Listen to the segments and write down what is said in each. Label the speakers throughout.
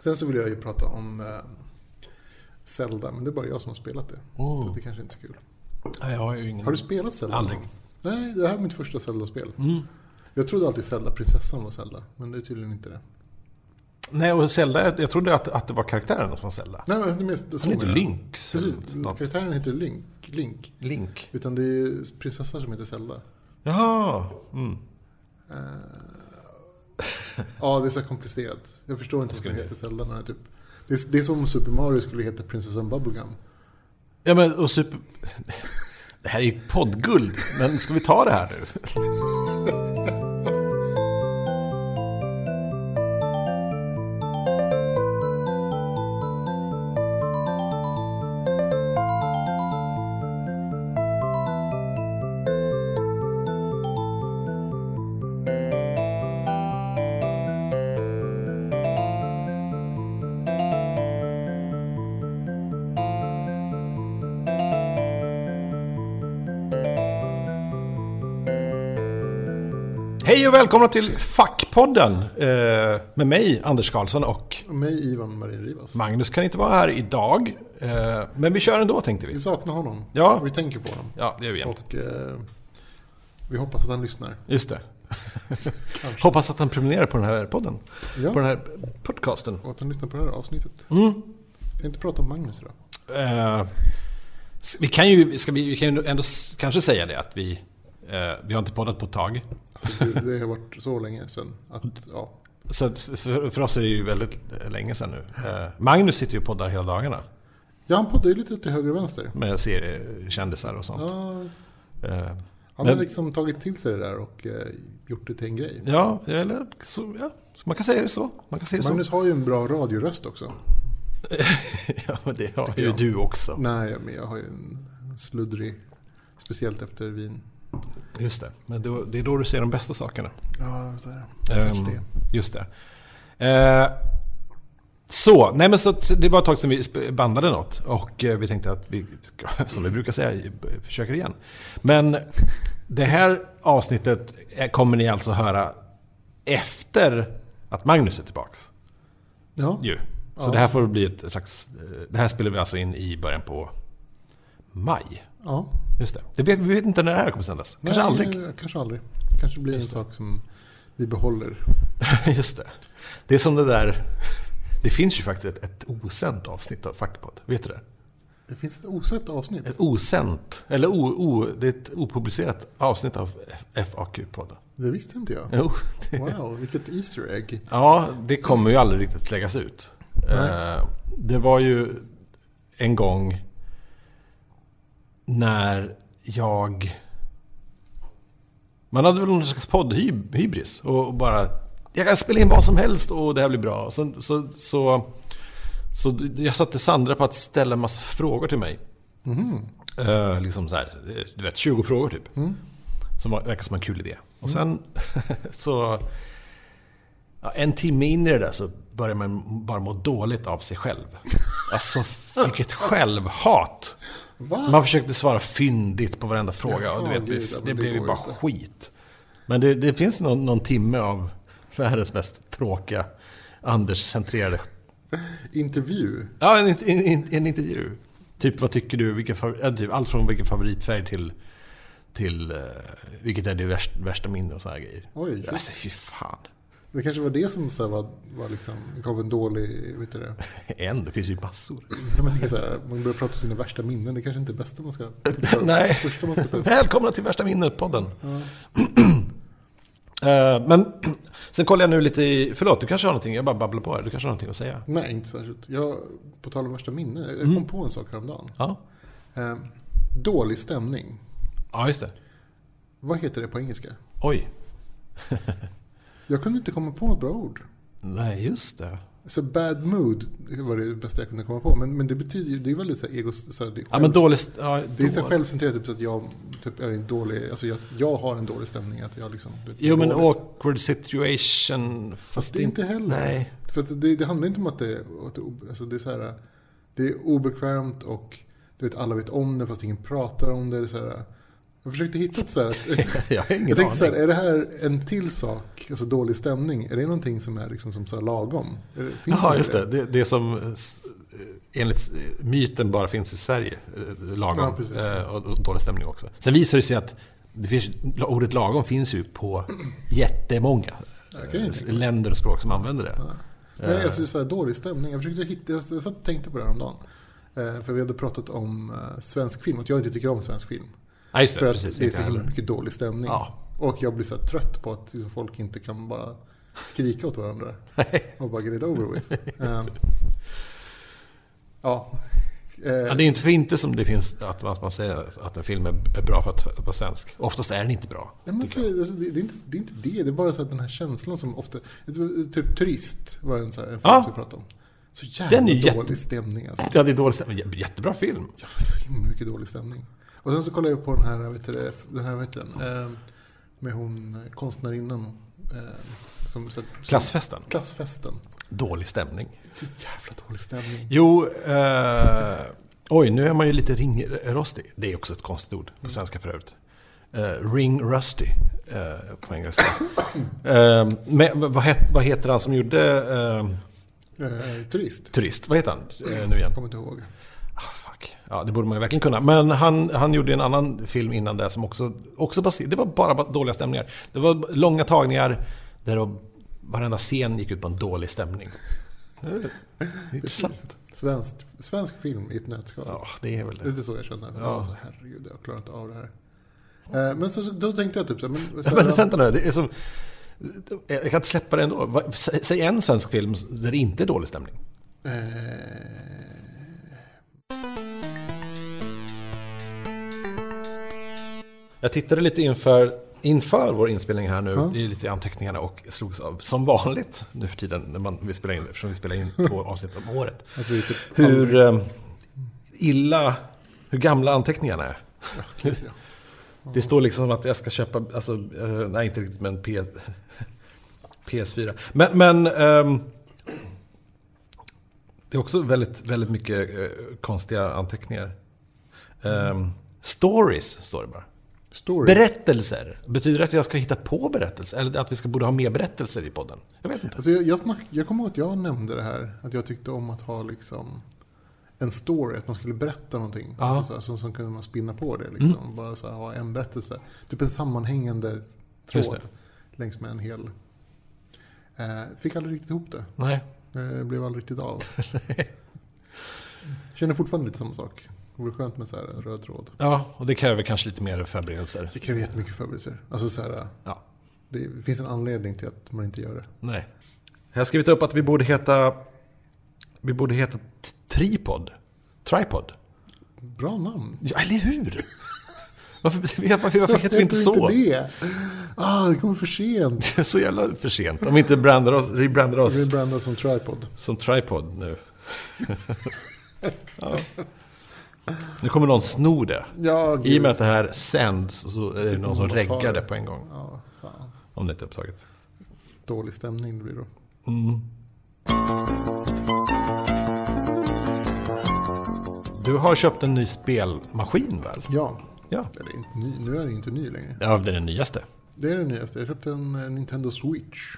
Speaker 1: Sen så vill jag ju prata om eh, Zelda, men det är bara jag som har spelat det. Så det kanske inte är så kul.
Speaker 2: Nej, jag har ju ingen...
Speaker 1: Har du spelat Zelda?
Speaker 2: Oh. Aldrig. Mm.
Speaker 1: Nej, det här är mitt första Zelda-spel. Jag trodde alltid Zelda-prinsessan var Zelda, men det är tydligen inte det.
Speaker 2: Nej, och Zelda, jag- jag trodde att, att det var karaktären som var Zelda.
Speaker 1: Nej, men det är mest, det
Speaker 2: Han heter
Speaker 1: jag.
Speaker 2: Lynx.
Speaker 1: Precis,
Speaker 2: eller något.
Speaker 1: karaktären heter Link. Link.
Speaker 2: Link.
Speaker 1: Utan det är prinsessan som heter Zelda.
Speaker 2: Jaha. Mm.
Speaker 1: Ja, det är så här komplicerat. Jag förstår inte varför
Speaker 2: skulle
Speaker 1: den heter Zelda. När det, är typ. det, är, det är som om Super Mario skulle heta prinsessan Bubblegum.
Speaker 2: Ja, men och super... Det här är ju poddguld, men ska vi ta det här nu? Hej och välkomna till Fackpodden eh, med mig, Anders Karlsson och
Speaker 1: Och mig, Ivan Marin Rivas.
Speaker 2: Magnus kan inte vara här idag. Eh, men vi kör ändå, tänkte
Speaker 1: Vi
Speaker 2: vi.
Speaker 1: saknar honom.
Speaker 2: Ja.
Speaker 1: Och vi tänker på honom.
Speaker 2: Ja, det gör vi jämt.
Speaker 1: Och eh, vi hoppas att han lyssnar.
Speaker 2: Just det.
Speaker 1: Kanske.
Speaker 2: Hoppas att han prenumererar på den här podden.
Speaker 1: Ja.
Speaker 2: På den här podcasten.
Speaker 1: Och att han lyssnar på det här avsnittet.
Speaker 2: Mm.
Speaker 1: Ska inte prata om Magnus idag?
Speaker 2: Eh, s- vi kan ju ska vi, vi kan ju ändå s- kanske säga det att vi, eh, vi har inte poddat på ett tag.
Speaker 1: Alltså, det, det har varit så länge sedan. Att, ja.
Speaker 2: Så att för, för oss är det ju väldigt länge sedan nu. Eh, Magnus sitter ju och poddar hela dagarna
Speaker 1: ja, han poddar ju lite till höger och vänster.
Speaker 2: med seriekändisar och sånt.
Speaker 1: Ja,
Speaker 2: Eh,
Speaker 1: han
Speaker 2: Men-
Speaker 1: har liksom tagit till sig det där och eh, gjort det till en grej.
Speaker 2: Ja, eller så, ja, så man kan säga det så. Man kan säga det
Speaker 1: Magnus har ju en bra radioröst också.
Speaker 2: så. ja, men det har
Speaker 1: Tycker
Speaker 2: ju
Speaker 1: jag.
Speaker 2: du också.
Speaker 1: Nej, men jag har ju en sluddrig, speciellt efter vin.
Speaker 2: Just det. Men då, det är då du ser de bästa sakerna.
Speaker 1: Ja, så här.
Speaker 2: Ehm,
Speaker 1: Kanske det.
Speaker 2: Just det. Eh, så, nej men så att det var ett tag sedan vi sp- bandade något och eh, vi tänkte att vi, ska, som vi brukar säga, försöker igen. Men det här avsnittet eh, kommer ni alltså höra efter att Magnus är tillbaks.
Speaker 1: Ja,
Speaker 2: Ju. Så
Speaker 1: Ja.
Speaker 2: det här får bli ett slags, eh, det här spelar vi alltså in i början på maj.
Speaker 1: ja.
Speaker 2: Just det. det vet, vi vet inte när det här kommer sändas. Kanske
Speaker 1: Nej,
Speaker 2: aldrig.
Speaker 1: eh, Kanske aldrig. Kanske blir en
Speaker 2: Just
Speaker 1: sak som vi behåller.
Speaker 2: Just det. Det är som det där... Det finns ju faktiskt ett, ett osänt avsnitt av Fackpodd. Vet du det?
Speaker 1: Det finns ett osett avsnitt.
Speaker 2: Ett osänt, eller o, o, det är ett opublicerat avsnitt av F- FAQ-podden.
Speaker 1: Det visste inte jag.
Speaker 2: Jo, det,
Speaker 1: Wow, vilket Easter egg.
Speaker 2: ja, det kommer ju aldrig riktigt läggas ut.
Speaker 1: Nej.
Speaker 2: Eh, det var ju en gång när jag... Man hade väl någon slags poddhybris och och bara jag kan spela in vad som helst och det här blir bra. Så, så, så, så d- jag satte Sandra på att ställa en massa frågor till mig. Eh, liksom så här, eh, du vet, 20 frågor typ. Som var, verkar som en kul idé. Och sen så... Ja, en timme in i det där så börjar man bara må dåligt av sig själv. Alltså, vilket självhat!
Speaker 1: Va?
Speaker 2: Man försökte svara fyndigt på varenda fråga. och
Speaker 1: Jaha,
Speaker 2: du vet,
Speaker 1: gud, ja,
Speaker 2: det,
Speaker 1: men
Speaker 2: det
Speaker 1: det
Speaker 2: blev ju
Speaker 1: går
Speaker 2: bara
Speaker 1: ju inte.
Speaker 2: skit. Men det, det finns någon, någon timme av världens mest tråkiga Anders-centrerade...
Speaker 1: Intervju.
Speaker 2: Ja, en, in- in- en intervju. Typ, vad tycker du? Vilken favor- ja, typ, allt från vilken favoritfärg till, till eh, vilket är det värst, värsta minne och såna här grejer.
Speaker 1: Oj, just.
Speaker 2: alltså, fy fan.
Speaker 1: Det kanske var det som så här, var, var liksom, gav en dålig... Vet du det?
Speaker 2: En, det finns ju massor.
Speaker 1: Jag tänker så här, man börjar prata om sina värsta minnen. Det kanske inte är det bästa man ska...
Speaker 2: Nej.
Speaker 1: Första man ska ta upp.
Speaker 2: Välkomna till Värsta minnet-podden. Eh, Men sen kollar jag nu lite i... Förlåt, du kanske har någonting? Jag bara babblar på här. Du kanske har någonting att säga?
Speaker 1: Nej, inte särskilt. Jag, på tal om värsta minnen, jag
Speaker 2: Mm.
Speaker 1: kom på en sak häromdagen.
Speaker 2: Ja,
Speaker 1: Eh, dålig stämning.
Speaker 2: ja just det.
Speaker 1: Vad heter det på engelska?
Speaker 2: Oj.
Speaker 1: Jag kunde inte komma på något bra ord.
Speaker 2: Nej, just det.
Speaker 1: Så bad mood var det bästa jag kunde komma på. Men, men det betyder ju- det är väldigt så här, ego... Så här, det är
Speaker 2: Ja, men
Speaker 1: själv-
Speaker 2: dålig... st- Ja,
Speaker 1: Det är så
Speaker 2: då-
Speaker 1: här självcentrerat, typ, så att jag typ, är en dålig... Alltså jag, jag har en dålig stämning. Att jag liksom, det är
Speaker 2: Jo, men
Speaker 1: dåligt.
Speaker 2: awkward situation... Fast,
Speaker 1: Fast det är inte heller.
Speaker 2: Nej.
Speaker 1: För att det, det handlar inte om att det, är- att det, är ob- alltså det är så här, det är obekvämt och du vet, alla vet om det fast ingen pratar om det. det är så här, Jag försökte hitta ett så här, ett,
Speaker 2: Jag har ingen
Speaker 1: Jag tänkte så här,
Speaker 2: aning.
Speaker 1: är det här en till sak, alltså dålig stämning, är det någonting som är liksom som så här lagom? Är det- Finns
Speaker 2: Jaha,
Speaker 1: inte
Speaker 2: just det. det. Det som eh, s- eh, enligt s- eh, myten bara finns i Sverige, eh, lagom.
Speaker 1: Ja, precis.
Speaker 2: Eh, och och dålig stämning också. Sen visar det sig att det finns, ordet lagom finns ju på jättemånga
Speaker 1: Jag kan ju
Speaker 2: eh,
Speaker 1: tänka mig.
Speaker 2: länder och språk som använder det.
Speaker 1: Nej,
Speaker 2: Eh.
Speaker 1: alltså så här, dålig stämning. Jag försökte hitta, jag satt och tänkte på det här om dagen. Eh, För vi hade pratat om eh, svensk film, att jag inte tycker om svensk film.
Speaker 2: Eh, Ja, just det.
Speaker 1: För att
Speaker 2: precis,
Speaker 1: det är
Speaker 2: inte
Speaker 1: så
Speaker 2: jag
Speaker 1: himla
Speaker 2: heller.
Speaker 1: mycket dålig stämning.
Speaker 2: Ja.
Speaker 1: Och jag blir så här trött på att liksom folk inte kan bara skrika åt varandra. och bara get it over with. Eh, ja. Eh,
Speaker 2: Ja, det är inte för inte som det finns att man, att man säger att en film är är bra för att vara svensk. Oftast är den inte bra.
Speaker 1: Nej, men
Speaker 2: tycker
Speaker 1: så,
Speaker 2: jag.
Speaker 1: alltså, det, det, är inte, det är inte det, det är bara så att den här känslan som ofta... jag tror- Typ Turist var en, så här, en film
Speaker 2: Ja.
Speaker 1: vi pratade om. Så
Speaker 2: Den är ju
Speaker 1: jävla
Speaker 2: jätte-
Speaker 1: dålig stämning alltså.
Speaker 2: Ja, det är dålig stämning. Jä- Jättebra film.
Speaker 1: Ja, så himla mycket dålig stämning. Och sen så kollade jag på den här, vet du, det, den här, vet du, den, eh, med hon eh, konstnärinnan. Eh, som, så,
Speaker 2: Klassfesten.
Speaker 1: Klassfesten.
Speaker 2: Dålig stämning.
Speaker 1: Så jävla dålig stämning.
Speaker 2: Jo, eh, oj, nu är man ju lite ringrostig. Det är också ett konstigt ord på svenska för övrigt. Eh, ring rusty eh, på engelska. eh, men vad, het, vad heter han som gjorde eh,
Speaker 1: Eh, turist.
Speaker 2: Turist? Vad heter han eh, nu igen?
Speaker 1: Kommer inte ihåg.
Speaker 2: Ah, fuck. Ja, det borde man ju verkligen kunna. Men han, han gjorde en annan film innan det som också, också baser, Det var bara ba- dåliga stämningar. Det var långa tagningar där det var, varenda scen gick ut på en dålig stämning. Eh, Det är intressant.
Speaker 1: Svensk, svensk film i ett nötskal.
Speaker 2: Ja, det är väl
Speaker 1: Det är
Speaker 2: det.
Speaker 1: inte så jag känner.
Speaker 2: Ja.
Speaker 1: Ja. Alltså, herregud, jag klarar inte av det här. Eh, Men så, så, då tänkte jag typ så här, men, så här,
Speaker 2: Men vänta nu, det är som... Jag kan inte släppa det ändå. Va- Sä- Säg en svensk film där det inte är dålig stämning.
Speaker 1: eh,
Speaker 2: Jag tittade lite inför, inför vår inspelning här nu,
Speaker 1: Ja.
Speaker 2: i lite i anteckningarna och slogs av, som vanligt nu för tiden, när man, vi spelar in, eftersom vi spelar in två avsnitt om året.
Speaker 1: att vi typ
Speaker 2: Hur eh, illa, hur gamla anteckningarna är.
Speaker 1: aldrig- ja.
Speaker 2: Det står liksom att jag ska köpa, alltså, eh, nej inte riktigt men P, PS4. Men, men ehm, det är också väldigt, väldigt mycket eh, konstiga anteckningar. Ehm, stories står det bara.
Speaker 1: Story.
Speaker 2: Berättelser. Betyder det att jag ska hitta på berättelser? Eller att vi ska borde ha mer berättelser i podden? Jag vet inte.
Speaker 1: Alltså jag, jag, snack, jag kommer ihåg att jag nämnde det här, att jag tyckte om att ha liksom en story, att man skulle berätta någonting.
Speaker 2: Ja. Mm.
Speaker 1: Alltså så här, som, som kunde man spinna på det. Liksom. Bara så här, ha en berättelse. Typ en sammanhängande
Speaker 2: Just
Speaker 1: tråd längs med en hel... Eh, fick aldrig riktigt ihop det.
Speaker 2: Nej.
Speaker 1: Eh, blev aldrig riktigt av. Mm. Känner fortfarande lite samma sak. Det vore skönt med så här en röd tråd.
Speaker 2: Ja, och det kräver kanske lite mer förberedelser.
Speaker 1: Det kräver jättemycket förberedelser. Alltså så här,
Speaker 2: Ja.
Speaker 1: det finns en anledning till att man inte gör det.
Speaker 2: Nej. Jag har skrivit upp att vi borde heta... Vi borde heta t- Tripod. Tripod.
Speaker 1: Bra namn.
Speaker 2: Ja, eller hur? Varför, varför, varför heter vi inte
Speaker 1: Varför
Speaker 2: så?
Speaker 1: Inte det? Ah, det kommer för sent.
Speaker 2: Det är så jävla för sent. Om vi inte brandar oss, rebrandar oss
Speaker 1: Rebrandad som tripod.
Speaker 2: som Tripod nu. ja. Nu kommer någon sno det.
Speaker 1: Ja,
Speaker 2: I och
Speaker 1: gud.
Speaker 2: med att det här sänds så är det
Speaker 1: Så
Speaker 2: någon som
Speaker 1: kommer man ta
Speaker 2: reggar
Speaker 1: det.
Speaker 2: det på en gång.
Speaker 1: Ja, fan.
Speaker 2: Om det inte är upptaget.
Speaker 1: Dålig stämning det blir då.
Speaker 2: Du har köpt en ny spelmaskin väl?
Speaker 1: Ja.
Speaker 2: Ja.
Speaker 1: Eller inte ny. Nu är den inte ny längre.
Speaker 2: Ja, det är den nyaste.
Speaker 1: Det är det nyaste. Jag köpte en eh, Nintendo Switch.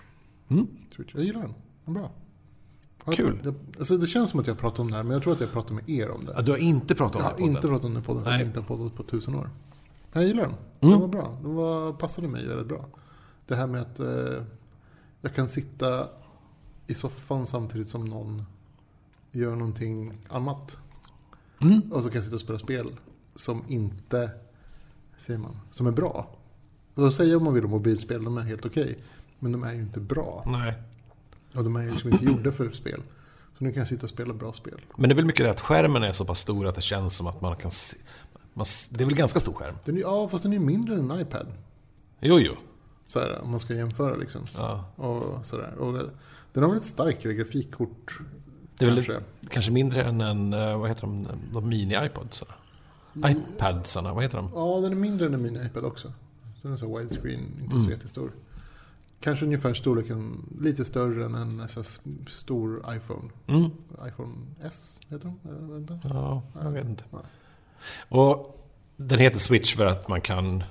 Speaker 2: Mm.
Speaker 1: Switch. Jag gillar den. Den är bra. Har jag-
Speaker 2: Kul.
Speaker 1: Det, alltså det känns som att jag pratar om det här, men jag tror att jag pratar med er om det.
Speaker 2: Ja, du har inte pratat om
Speaker 1: Jag
Speaker 2: det
Speaker 1: har
Speaker 2: på
Speaker 1: inte
Speaker 2: podden.
Speaker 1: pratat om den i podden, för
Speaker 2: Nej. Mm.
Speaker 1: jag har inte poddat på tusen år. Men jag gillar den. Den var bra. Den var, passade mig väldigt bra. Det här med att eh, jag kan sitta i soffan samtidigt som någon gör någonting annat.
Speaker 2: Mm.
Speaker 1: Och så kan jag sitta och spela spel som inte, säger man, som är bra. Och då säger man vid de mobilspel, de är helt okej. men de är ju inte bra.
Speaker 2: Nej.
Speaker 1: Och de är ju liksom inte gjorda för spel. Så nu kan jag sitta och spela bra spel.
Speaker 2: Men det är väl mycket det att skärmen är så pass stor att det känns som att man kan se... Man, s- det är väl ganska stor skärm?
Speaker 1: Den är, ja, fast den är ju mindre än en iPad.
Speaker 2: Jo, jo.
Speaker 1: Så här, om man ska jämföra liksom.
Speaker 2: Ja.
Speaker 1: Och sådär. Och eh, den har väl ett starkare grafikkort.
Speaker 2: Det är väl
Speaker 1: Kanske.
Speaker 2: kanske. mindre än en, eh, vad heter de, de mini-iPodsarna?
Speaker 1: Mm.
Speaker 2: iPadsarna, vad heter de?
Speaker 1: Ja, den är mindre än en mini iPad också. Den är så widescreen, inte
Speaker 2: Mm.
Speaker 1: så jättestor. Kanske ungefär storleken, lite större än en så här, s- stor iPhone.
Speaker 2: Mm.
Speaker 1: iPhone S heter de? Eller vad heter den?
Speaker 2: Ja, jag vet inte.
Speaker 1: Ja.
Speaker 2: Och Den heter Switch för att man kan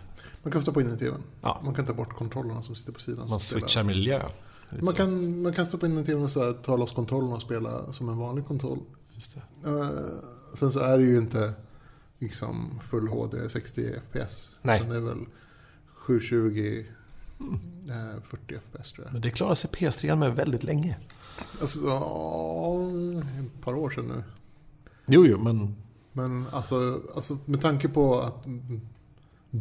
Speaker 1: Man kan stoppa in den i tvn.
Speaker 2: Ja.
Speaker 1: Man kan ta bort kontrollerna som sitter på sidan.
Speaker 2: man
Speaker 1: som spelar.
Speaker 2: switchar miljö. Liksom. Lite
Speaker 1: Man
Speaker 2: så.
Speaker 1: kan, man kan stoppa in den i tvn och så här, ta loss kontrollen och spela som en vanlig kontroll.
Speaker 2: Just det.
Speaker 1: Eh, sen så är det ju inte liksom full HD 60 FPS.
Speaker 2: Nej.
Speaker 1: Utan det är väl 720 eh, 40 FPS tror jag.
Speaker 2: Men det klarar sig PS3 med väldigt länge.
Speaker 1: Alltså, så, ja, ett par år sedan nu.
Speaker 2: Jo, jo, men
Speaker 1: Men alltså, alltså med tanke på att mm,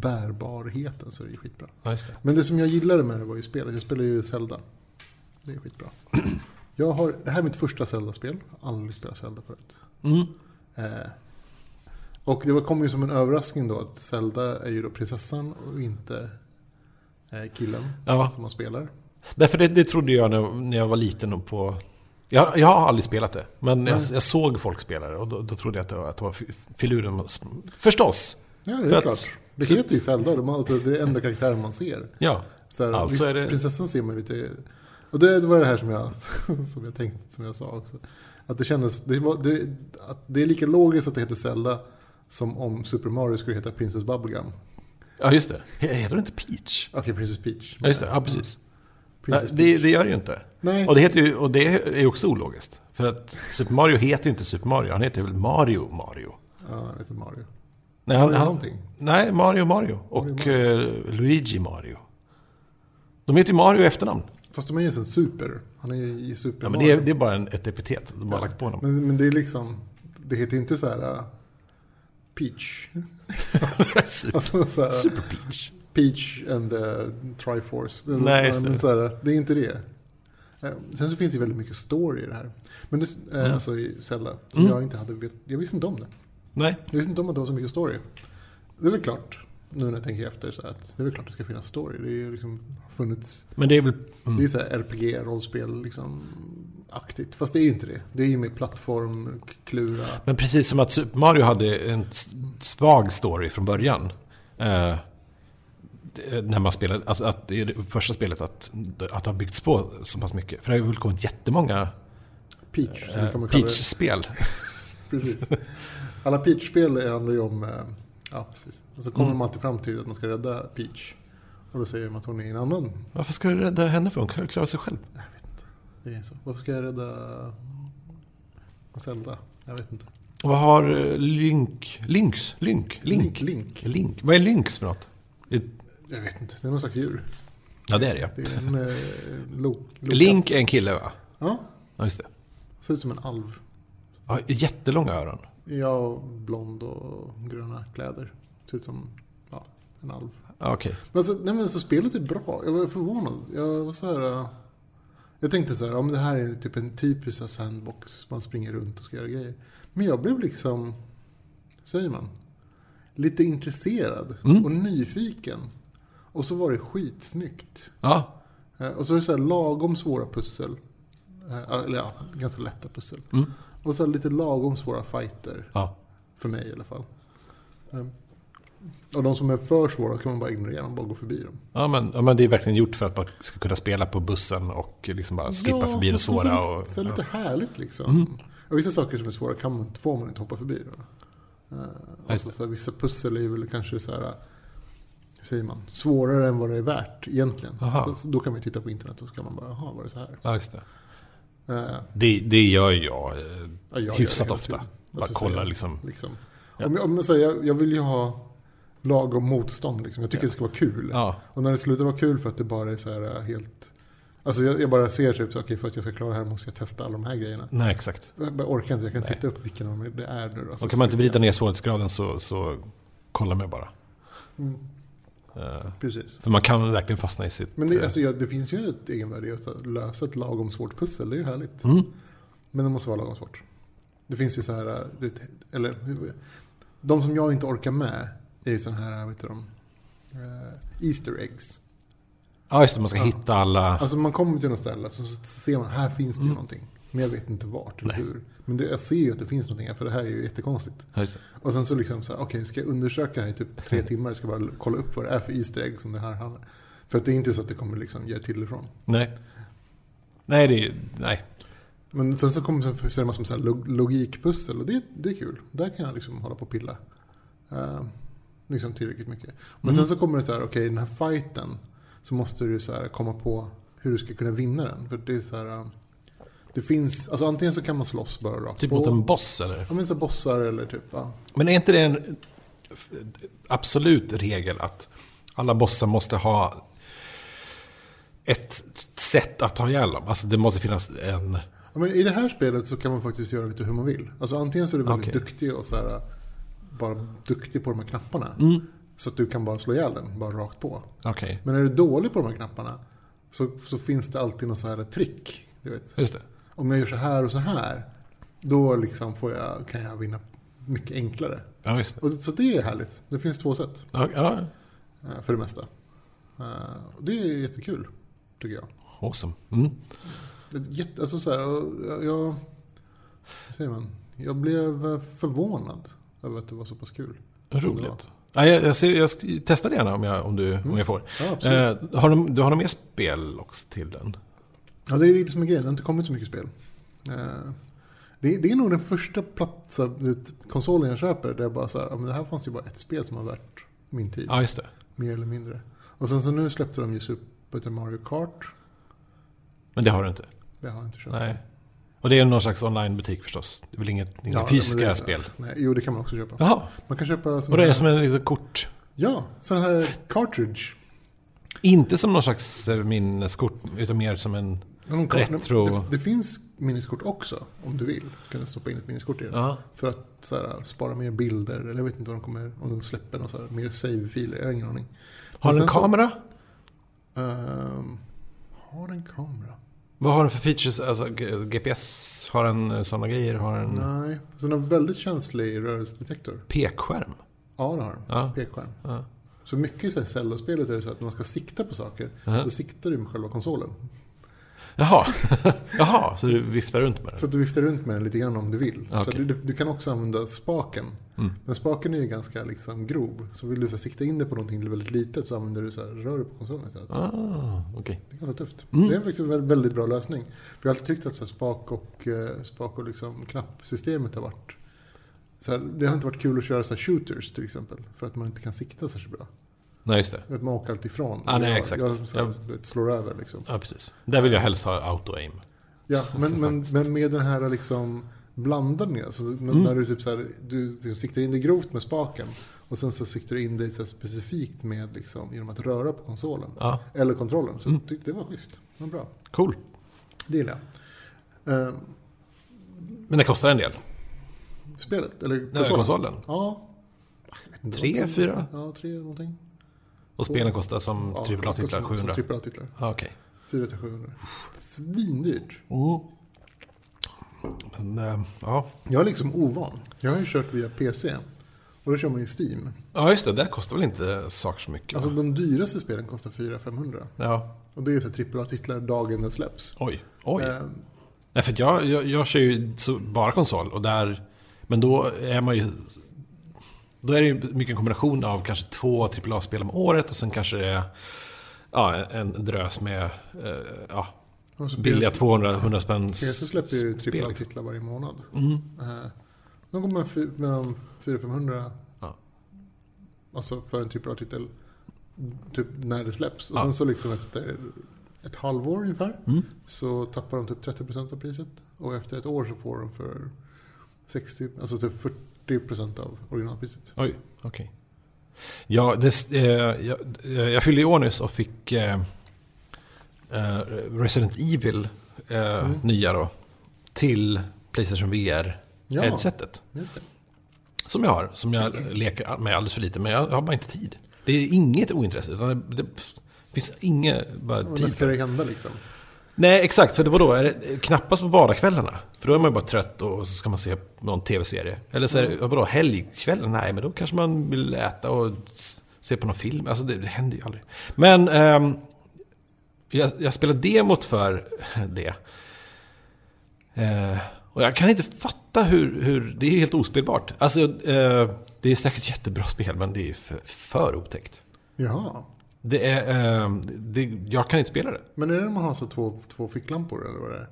Speaker 1: bärbarheten så är det ju skitbra.
Speaker 2: ja, just det.
Speaker 1: Men det som jag gillade med det var ju spelet. Jag spelade ju Zelda. Det är skitbra. Jag har, det här är mitt första Zelda-spel. Jag har Aldrig spelat Zelda förut.
Speaker 2: Mm.
Speaker 1: Eh, och det var- kom ju som en överraskning då att Zelda är ju då prinsessan och inte eh, killen
Speaker 2: Ja.
Speaker 1: som man spelar.
Speaker 2: Därför det, det trodde jag när, när jag var liten och på... Jag, jag har aldrig spelat det, men jag,
Speaker 1: Nej.
Speaker 2: jag såg folk spela det och då, då trodde jag att det var, att det var fi- filuren. och sm- Förstås!
Speaker 1: Ja, det är
Speaker 2: För att-
Speaker 1: klart. Det
Speaker 2: så-
Speaker 1: heter ju Zelda. De, har- alltså, det är den enda karaktären man ser.
Speaker 2: Ja,
Speaker 1: Så här,
Speaker 2: Alltså
Speaker 1: visst,
Speaker 2: är det-
Speaker 1: Prinsessan ser man lite... Och det, det var det här som jag, som jag tänkte, som jag sa också. Att det kändes... Det, var, det, att det är lika logiskt att det heter Zelda som om Super Mario skulle heta Princess Bubblegum.
Speaker 2: ja just det. He- Heter det inte Peach?
Speaker 1: Okej, Princess Peach.
Speaker 2: Ja, just det. Ja, precis. Nej,
Speaker 1: Princess
Speaker 2: det,
Speaker 1: Peach.
Speaker 2: det gör det ju inte.
Speaker 1: Nej,
Speaker 2: Och det, heter ju, och det är ju också ologiskt. För att Super Mario heter ju inte Super Mario, han heter väl Mario Mario?
Speaker 1: ja, han heter Mario.
Speaker 2: Nej,
Speaker 1: Han,
Speaker 2: han,
Speaker 1: han,
Speaker 2: han,
Speaker 1: någonting.
Speaker 2: nej Mario Mario och eh, Luigi Mario. De heter ju Mario i efternamn.
Speaker 1: Fast de är ju sen super. Han är ju i Super
Speaker 2: Ja, men
Speaker 1: Mario.
Speaker 2: det, är, det är bara en, ett epitet de har lagt på honom.
Speaker 1: Men, men det är liksom... Det heter ju inte så här... äh, Peach.
Speaker 2: Super,
Speaker 1: Alltså så här,
Speaker 2: Super Peach.
Speaker 1: Peach and the Triforce. Eller-
Speaker 2: Nej, just
Speaker 1: men
Speaker 2: det.
Speaker 1: Så här, det är inte det. Eh, Sen så finns det ju väldigt mycket story i det här. Men det, eh,
Speaker 2: Mm.
Speaker 1: Alltså i Zelda. Som
Speaker 2: Mm.
Speaker 1: jag inte hade vet, Jag visste inte om det.
Speaker 2: Nej,
Speaker 1: Jag visste inte om att det var så mycket story. Det är väl klart, nu när jag tänker efter, så här, att det är väl klart det ska finnas story. Det är ju liksom funnits...
Speaker 2: men det är väl...
Speaker 1: Det är
Speaker 2: Mm.
Speaker 1: så här RPG, rollspel, liksom aktigt. Fast det är ju inte det. Det är ju mer plattform, klura.
Speaker 2: Men precis som att Super Mario hade en s- svag story från början. Eh, det- när man spelade, alltså att det är det första spelet att, att det har byggts på så pass mycket. För det har ju kommit jättemånga
Speaker 1: Peach, som
Speaker 2: eh,
Speaker 1: det kommer kalla det.
Speaker 2: Peach-spel.
Speaker 1: Precis. Alla Peach-spel handlar ju om... eh, Ja, precis. Och så kommer
Speaker 2: Mm.
Speaker 1: man alltid fram till att man ska rädda Peach. Och då säger de att hon är en annan.
Speaker 2: Varför ska du rädda henne för? Hon kan ju klara sig själv.
Speaker 1: Jag vet inte. Det är så. Varför ska jag rädda Zelda? Jag vet inte.
Speaker 2: Och Vad har eh, Link... Lynx? Link? Link?
Speaker 1: Link.
Speaker 2: Link? Vad är Lynx för något? Det-
Speaker 1: Jag vet inte. Det är någon slags djur.
Speaker 2: Ja, det är det ja.
Speaker 1: Det är en... Eh, lo, lo,
Speaker 2: Link är en kille va?
Speaker 1: Ja.
Speaker 2: Ja, just det.
Speaker 1: Ser ut som en alv.
Speaker 2: Ja, jättelånga öron.
Speaker 1: Ja, blond och gröna kläder. Ser ut som ja, en alv.
Speaker 2: Ja, Okej.
Speaker 1: Men så, nej men så spelet är bra. Jag var förvånad. Jag var så här... äh, Jag tänkte så här, om det här är typ en typisk så här sandbox. Man springer runt och ska göra grejer. Men jag blev liksom, säger man, lite intresserad
Speaker 2: Mm.
Speaker 1: och nyfiken. Och så var det skitsnyggt.
Speaker 2: Ja,
Speaker 1: Eh, Och så är det så här lagom svåra pussel. Eh, Eller ja, ganska lätta pussel.
Speaker 2: Mm.
Speaker 1: Och så här lite lagom svåra fighter.
Speaker 2: Ja.
Speaker 1: För mig i alla fall. Eh, Och de som är för svåra kan man bara ignorera, man bara går förbi dem.
Speaker 2: Ja men, ja, men det är verkligen gjort för att man ska kunna spela på bussen och liksom bara slippa förbi det
Speaker 1: och sen så
Speaker 2: svåra.
Speaker 1: är
Speaker 2: Och,
Speaker 1: det- Så är det lite
Speaker 2: ja.
Speaker 1: härligt liksom. Och vissa saker som är svåra kan man, får man inte hoppa förbi. Då. Eh,
Speaker 2: just
Speaker 1: Alltså, så här, vissa pussel är väl kanske så här, hur säger man, svårare än vad det är värt egentligen.
Speaker 2: Aha.
Speaker 1: Fast Då kan man ju titta på internet och så kan man bara, jaha, var det så här?
Speaker 2: Ja, just det.
Speaker 1: Eh,
Speaker 2: Det, det gör jag eh,
Speaker 1: ja, jag gör det
Speaker 2: hyfsat
Speaker 1: hela
Speaker 2: ofta.
Speaker 1: tiden.
Speaker 2: Bara
Speaker 1: Alltså, så
Speaker 2: kollar
Speaker 1: jag-
Speaker 2: liksom.
Speaker 1: Liksom.
Speaker 2: Ja.
Speaker 1: Om jag, om jag, säger, jag, jag vill ju ha lagom motstånd. Liksom. Jag tycker det ska vara kul.
Speaker 2: Ja,
Speaker 1: Och när det slutar vara kul för att det bara är så här eh, helt... Alltså jag, jag bara ser typ, så, okej för att jag ska klara det här måste jag testa alla de här grejerna.
Speaker 2: nej exakt.
Speaker 1: Jag bara orkar inte, jag kan
Speaker 2: Nej.
Speaker 1: titta upp vilken av dem det är nu. då.
Speaker 2: Och kan man
Speaker 1: skriver
Speaker 2: inte vrida ner svårighetsgraden så, så kolla mig bara.
Speaker 1: jag. Mm,
Speaker 2: Eh,
Speaker 1: precis.
Speaker 2: För man kan verkligen fastna i sitt...
Speaker 1: Men det,
Speaker 2: eh,
Speaker 1: alltså, ja, det finns ju ett egenvärde i att så här lösa ett lagom svårt pussel, det är ju härligt.
Speaker 2: mm.
Speaker 1: Men det måste vara lagom svårt. Det finns ju så här, äh, du vet, eller hur- de som jag inte orkar med är ju sådana här, äh, vad heter de? Eh, Easter eggs.
Speaker 2: Ja, just det. Man ska
Speaker 1: Ja.
Speaker 2: hitta alla...
Speaker 1: Alltså man kommer till något ställe så så ser man, här finns det ju
Speaker 2: Mm.
Speaker 1: någonting. Men jag vet inte vart eller
Speaker 2: Nej.
Speaker 1: hur. Men det, jag ser ju att det finns någonting här, för det här är ju jättekonstigt.
Speaker 2: Ja, just det.
Speaker 1: Och sen så liksom så här, okej, ska jag undersöka här i typ tre timmar? Jag ska bara kolla upp vad det är för Easter egg som det här handlar För att det är inte så att det kommer liksom ge till ifrån.
Speaker 2: Nej. Nej, det är... Nej.
Speaker 1: Men sen så kommer sen- så är det massor med så här log- logikpussel och det, det är kul. Där kan jag liksom hålla på och pilla. Eh, liksom tillräckligt mycket. Men
Speaker 2: Mm.
Speaker 1: sen så kommer det så här, okej den här fighten så måste du så här komma på hur du ska kunna vinna den. För det är så här, eh, det finns, alltså antingen så kan man slåss bara rakt
Speaker 2: Typ
Speaker 1: på.
Speaker 2: mot en boss eller?
Speaker 1: Ja men så här bossar eller typ, ja.
Speaker 2: Men är inte det en f- absolut regel att alla bossar måste ha ett sätt att ta ihjäl dem? Alltså det måste finnas en...
Speaker 1: Ja, men I det här spelet så kan man faktiskt göra lite hur man vill. Alltså antingen så är du väldigt
Speaker 2: Okej.
Speaker 1: duktig och så här, bara duktig på de här knapparna. Så att du kan bara slå ihjäl den, bara rakt på.
Speaker 2: Okej,
Speaker 1: Men är du dålig på de här knapparna så, så finns det alltid något så här trick. Du vet.
Speaker 2: just det.
Speaker 1: Om jag gör så här och så här, då liksom får jag, kan jag vinna mycket enklare.
Speaker 2: Ja, just det.
Speaker 1: Och, så det är härligt. Det finns två sätt
Speaker 2: Ja, ja.
Speaker 1: eh, för det mesta. Eh, och Det är jättekul, tycker jag.
Speaker 2: Awesome. Mm.
Speaker 1: Ett Jätte, alltså så här, och jag, jag, vad säger man? jag blev eh, förvånad över att det var så pass kul.
Speaker 2: Roligt. Ja, jag, jag, ser, jag sk- testar det gärna om jag, om du, om jag får.
Speaker 1: Ja, absolut.
Speaker 2: Eh, har de, du har några mer spel också till den?
Speaker 1: Ja, det är det som är grejen. Det har inte kommit så mycket spel. Eh, Det är, det är nog den första plats, konsolen jag köper där jag bara så här, ja, men det här fanns ju bara ett spel som var värt min tid.
Speaker 2: Ja, just det.
Speaker 1: Mer eller mindre. Och sen så nu släppte de ju Super till Mario Kart.
Speaker 2: Men det har du inte?
Speaker 1: Det har jag inte köpt.
Speaker 2: Nej. Och det är någon slags onlinebutik förstås? Det är väl inget, inga
Speaker 1: Ja, men
Speaker 2: fysiska
Speaker 1: det är-
Speaker 2: spel?
Speaker 1: Nej, jo, det kan man också köpa.
Speaker 2: Jaha.
Speaker 1: Man kan köpa sådana
Speaker 2: Och det är
Speaker 1: här,
Speaker 2: som en liten kort?
Speaker 1: ja, sån här cartridge.
Speaker 2: Inte som någon slags eh, minneskort, utan mer som en...
Speaker 1: Någon kort-
Speaker 2: Retro.
Speaker 1: Det, det finns minniskort också, om du vill. Du kan stoppa in ett minniskort i den.
Speaker 2: Ja.
Speaker 1: För att så här, spara mer bilder, eller jag vet inte om de, kommer, om de släpper några så här, mer save-filer, jag har ingen aning.
Speaker 2: Har
Speaker 1: Men
Speaker 2: den
Speaker 1: sen
Speaker 2: en
Speaker 1: så-
Speaker 2: kamera?
Speaker 1: Ehm, har den kamera?
Speaker 2: Vad har den för features? Alltså G- GPS? Har den sådana grejer? Har den
Speaker 1: Nej. Så den har väldigt känslig rörelsedetektor.
Speaker 2: pekskärm?
Speaker 1: Ja, det har den.
Speaker 2: Ja.
Speaker 1: Pekskärm.
Speaker 2: Ja.
Speaker 1: Så mycket i så här Zelda-spelet är det så att när man ska sikta på saker,
Speaker 2: Ja.
Speaker 1: då siktar du med själva konsolen.
Speaker 2: Eh, Jaha. Jaha, så du viftar runt med den?
Speaker 1: Så att du viftar runt med den lite grann om du vill. Så
Speaker 2: Okej. Mm.
Speaker 1: du, du, du kan också använda spaken. Men spaken är ju ganska liksom grov. Så vill du så här, sikta in dig på någonting väldigt litet så använder du så här, rör du på konsolen istället.
Speaker 2: Ah, okej.
Speaker 1: Det är ganska tufft.
Speaker 2: Mm.
Speaker 1: Det är faktiskt en vä- väldigt bra lösning. För jag har alltid tyckt att så här, spak och, eh, spak och liksom, knappsystemet har varit... Så här, det har inte varit kul att köra så här, shooters till exempel. För att man inte kan sikta särskilt bra.
Speaker 2: Nej, just det.
Speaker 1: Att man åker alltid ifrån.
Speaker 2: Ah, nej,
Speaker 1: jag,
Speaker 2: exakt.
Speaker 1: Jag, så här, du vet, slår över liksom.
Speaker 2: Ja, precis. Där vill jag helst ha auto-aim.
Speaker 1: Ja, men, men, men med den här liksom blandningen. Alltså, men
Speaker 2: Mm.
Speaker 1: När du, typ så här, du liksom siktar in dig grovt med spaken och sen så siktar du in dig så här specifikt med liksom, genom att röra på konsolen.
Speaker 2: Ja,
Speaker 1: Eller kontrollen.
Speaker 2: Mm.
Speaker 1: Så jag tyckte det var schysst. Det var bra.
Speaker 2: cool.
Speaker 1: Det gillar jag. Eh,
Speaker 2: Men det kostar en del.
Speaker 1: spelet, eller
Speaker 2: Den här
Speaker 1: konsolen?
Speaker 2: konsolen.
Speaker 1: Ja. Jag vet inte,
Speaker 2: Tre,
Speaker 1: vad som-
Speaker 2: fyra?
Speaker 1: Ja, tre någonting.
Speaker 2: Och spelen kostar som
Speaker 1: Ja,
Speaker 2: AAA-titlar
Speaker 1: som- som
Speaker 2: 700.
Speaker 1: AAA-titlar.
Speaker 2: Ah, okej. Mm.
Speaker 1: 4 till 700. Svindyrt.
Speaker 2: Men, eh, ja.
Speaker 1: Jag är liksom ovan. Jag har ju kört via PC. Och då kör man ju Steam.
Speaker 2: Ja, just det. Där kostar väl inte saker så mycket? va?
Speaker 1: Alltså de dyraste spelen kostar 400-500.
Speaker 2: ja.
Speaker 1: Och det är ju så här AAA-titlar dagen den släpps.
Speaker 2: Oj. Oj.
Speaker 1: Eh,
Speaker 2: Nej, för att jag, jag, jag kör ju så- bara konsol och där... Men då är man ju... Då är det ju mycket en kombination av kanske två AAA-spel om året och sen kanske det är ja, en drös med eh, ja,
Speaker 1: och så
Speaker 2: billiga
Speaker 1: PS
Speaker 2: 200 100 spänn
Speaker 1: PC släpper ju
Speaker 2: spel, liksom. mm.
Speaker 1: AAA-titlar varje månad. Eh, De går med fy- mellan 400-500.
Speaker 2: Ja.
Speaker 1: Alltså för en AAA-titel. Typ när det släpps. Och
Speaker 2: Ja.
Speaker 1: sen så liksom efter ett halvår ungefär.
Speaker 2: Mm.
Speaker 1: Så tappar de typ 30% av priset. Och efter ett år så får de för 60, alltså typ 40% av originalpriset.
Speaker 2: Oj, okej. Ja, det, eh, jag, eh, jag fyllde i år nyss och fick eh, eh, Resident Evil eh,
Speaker 1: Mm.
Speaker 2: nya då. Till Playstation
Speaker 1: Ja.
Speaker 2: VR-headsetet.
Speaker 1: Just det.
Speaker 2: Som jag har, som jag leker med alldeles för lite. Men jag har bara inte tid. Det är inget ointresse. Utan det, det finns inget bara
Speaker 1: Men
Speaker 2: tid
Speaker 1: när ska
Speaker 2: för.
Speaker 1: det hända liksom?
Speaker 2: Nej, exakt. För det var då är det knappast på vardagskvällarna. För då är man ju bara trött och så ska man se någon tv-serie. Eller så är det, vadå, helgkvällen? Nej, men då kanske man vill äta och s- se på någon film. Alltså det, det händer ju aldrig. Men ehm, jag, jag spelar demot för det. Eh, och jag kan inte fatta hur, hur... Det är helt ospelbart. Alltså, eh, det är säkert jättebra spel, men det är ju för, för otäckt.
Speaker 1: Jaha.
Speaker 2: Det är, eh, det, jag kan inte spela det.
Speaker 1: Men är det när man har så två, två ficklampor eller vad det är?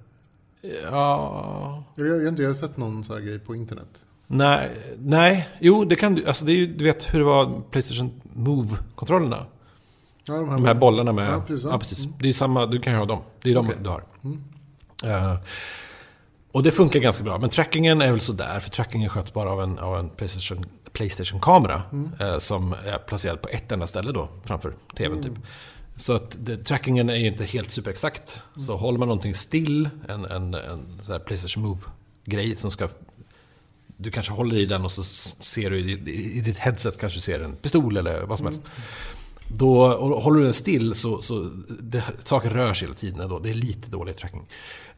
Speaker 2: Ja...
Speaker 1: Jag, jag, jag, har inte- jag har sett någon så här grej på internet.
Speaker 2: Nej, nej, jo det kan du. Alltså det är ju, du vet hur det var med Playstation Move-kontrollerna.
Speaker 1: Ja, de här,
Speaker 2: De här bollarna med...
Speaker 1: Ja, precis.
Speaker 2: Ja, precis. Det är ju samma, du kan ju ha dem. Det är de
Speaker 1: Okej. Mm.
Speaker 2: du har. Eh, och det funkar ganska bra. Men trackingen är väl sådär, för trackingen sköts bara av en, av en Playstation, Playstation-kamera.
Speaker 1: Mm.
Speaker 2: eh, som är placerad på ett enda ställe då, framför TVn
Speaker 1: Mm.
Speaker 2: typ. Så att det, trackingen är ju inte helt superexakt. Så
Speaker 1: Mm.
Speaker 2: håller man någonting still, en, en, en sån här Playstation Move-grej som ska... Du kanske håller i den och så s- ser du i, i, i ditt headset kanske ser en pistol eller vad som helst. Då, och håller du den still så, så det, saker rör sig hela tiden ändå. Det är lite dålig tracking.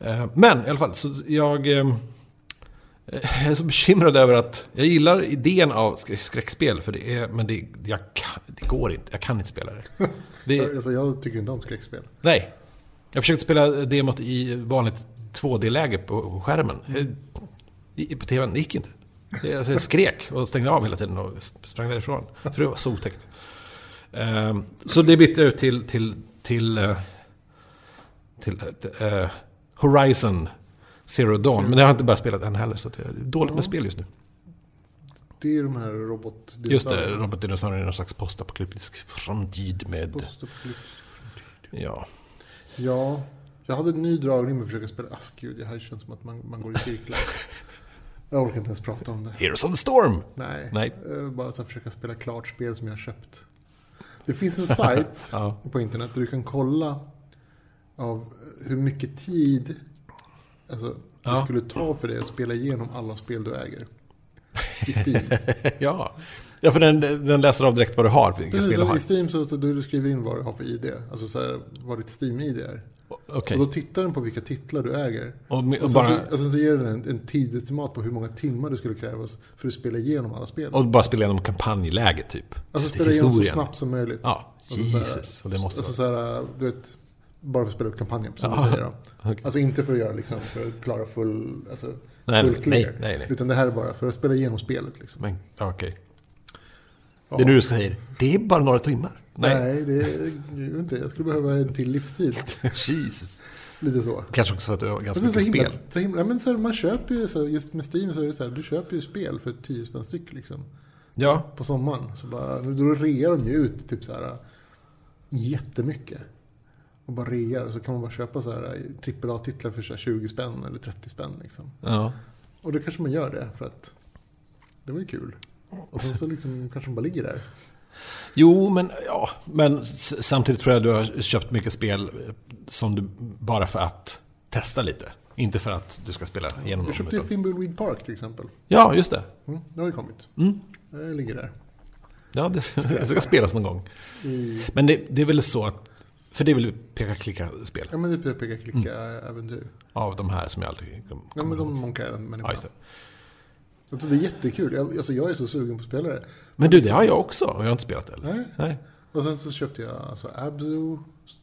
Speaker 2: Eh, Men i alla fall, så jag eh, jag är så bekymrad över att jag gillar idén av skrä- skräckspel, för det är, men det, jag kan, det går inte. Jag kan inte spela det. det
Speaker 1: Alltså, jag tycker inte om skräckspel.
Speaker 2: nej. Jag försökte spela demot i vanligt 2D-läge på på skärmen. Eh, i- På TVn, det gick inte. Det- Alltså jag skrek och stängde av hela tiden och sp- sprang därifrån. För det var så otäckt. Ehm, Så det bytte jag ut till, till, till, eh, till, eh, Horizon Zero Dawn. Men jag har inte bara spelat än heller, så att det är dåligt med spel just nu.
Speaker 1: Det är ju de här robot...
Speaker 2: Just det, robotdinosaurier är någon slags postapokalyptisk framtid med...
Speaker 1: Postapokalyptisk framtid.
Speaker 2: Ja.
Speaker 1: Ja, jag hade en ny dragning med att försöka spela... Alltså gud, det här känns som att man, man går i cirklar. jag orkar inte ens prata om det.
Speaker 2: Heroes of the Storm!
Speaker 1: Nej.
Speaker 2: Nej.
Speaker 1: Eh, Bara så här försöka spela klart spel som jag har köpt. Det finns en sajt
Speaker 2: Ja.
Speaker 1: på internet där du kan kolla av hur mycket tid alltså, det
Speaker 2: Ja.
Speaker 1: skulle ta för dig att spela igenom alla spel du äger. I Steam.
Speaker 2: ja. Ja, för den, den läser av direkt vad du har, vilka
Speaker 1: Precis, alltså,
Speaker 2: spel du har.
Speaker 1: I Steam så, så du skriver in vad du har för ID. Alltså så här, vad ditt Steam-ID är.
Speaker 2: Okej.
Speaker 1: Och då tittar den på vilka titlar du äger.
Speaker 2: Och, med- och,
Speaker 1: Och sen,
Speaker 2: bara,
Speaker 1: så, och sen så ger den en, en tidsestimat på hur många timmar det skulle krävas för att spela igenom alla spel.
Speaker 2: och bara spela igenom kampanjläget, typ.
Speaker 1: alltså
Speaker 2: Det är
Speaker 1: spela igenom så snabbt som möjligt.
Speaker 2: Ja,
Speaker 1: Alltså så här-
Speaker 2: Jesus. För det måste
Speaker 1: alltså
Speaker 2: vara...
Speaker 1: så här, du vet, bara för att spela upp kampanjen, som du
Speaker 2: Ja.
Speaker 1: säger. Då.
Speaker 2: Okej.
Speaker 1: Alltså inte för att göra liksom, för att klara full, alltså,
Speaker 2: Nej,
Speaker 1: full
Speaker 2: nej,
Speaker 1: clear.
Speaker 2: nej, nej, nej.
Speaker 1: Utan det här är bara för att spela igenom spelet. Liksom.
Speaker 2: Men, ja, okej.
Speaker 1: Ja.
Speaker 2: Det är nu du säger, det är bara några timmar.
Speaker 1: nej.
Speaker 2: Nej.
Speaker 1: det är, jag vet inte, jag skulle behöva en till livstid.
Speaker 2: Jesus.
Speaker 1: Lite så.
Speaker 2: Kanske också för att du har
Speaker 1: Men
Speaker 2: ganska
Speaker 1: sen
Speaker 2: mycket
Speaker 1: så himla,
Speaker 2: spel.
Speaker 1: så himla, men så här, man köper ju, så, här, just med Steam så är det så här, du köper ju spel för 10 spänn styck liksom.
Speaker 2: Ja.
Speaker 1: på sommaren. Så bara, då rear de ju ut typ så här jättemycket. Och bara rear. Så kan man bara köpa så här AAA-titlar för så här 20 spänn eller 30 spänn liksom.
Speaker 2: Ja.
Speaker 1: Och då kanske man gör det för att det var ju kul. Och sen så liksom kanske de bara ligger där.
Speaker 2: Jo, men, ja, men s- samtidigt tror jag du har köpt mycket spel eh, som du bara för att testa lite. Inte för att du ska spela igenom
Speaker 1: Jag
Speaker 2: dem.
Speaker 1: köpte ju
Speaker 2: Utan...
Speaker 1: Thimbleweed Park till exempel.
Speaker 2: Ja, just det.
Speaker 1: Mm, det har ju kommit.
Speaker 2: Mm.
Speaker 1: Det ligger där.
Speaker 2: Ja, det det ska spelas någon gång.
Speaker 1: I,
Speaker 2: Men det, det är väl så att... För det är väl peka-klicka-spel
Speaker 1: ja men det är peka klicka
Speaker 2: Mm.
Speaker 1: äventyr.
Speaker 2: av de här som jag aldrig kommer
Speaker 1: Ja men
Speaker 2: ihåg.
Speaker 1: de Monkey Island-människorna.
Speaker 2: Ja, just det.
Speaker 1: Alltså det är jättekul. Jag, alltså, jag är så sugen på att spela det.
Speaker 2: Men du, det har jag också. Och jag har inte spelat det heller.
Speaker 1: Nej,
Speaker 2: Nej.
Speaker 1: Och sen så köpte jag alltså Abzu,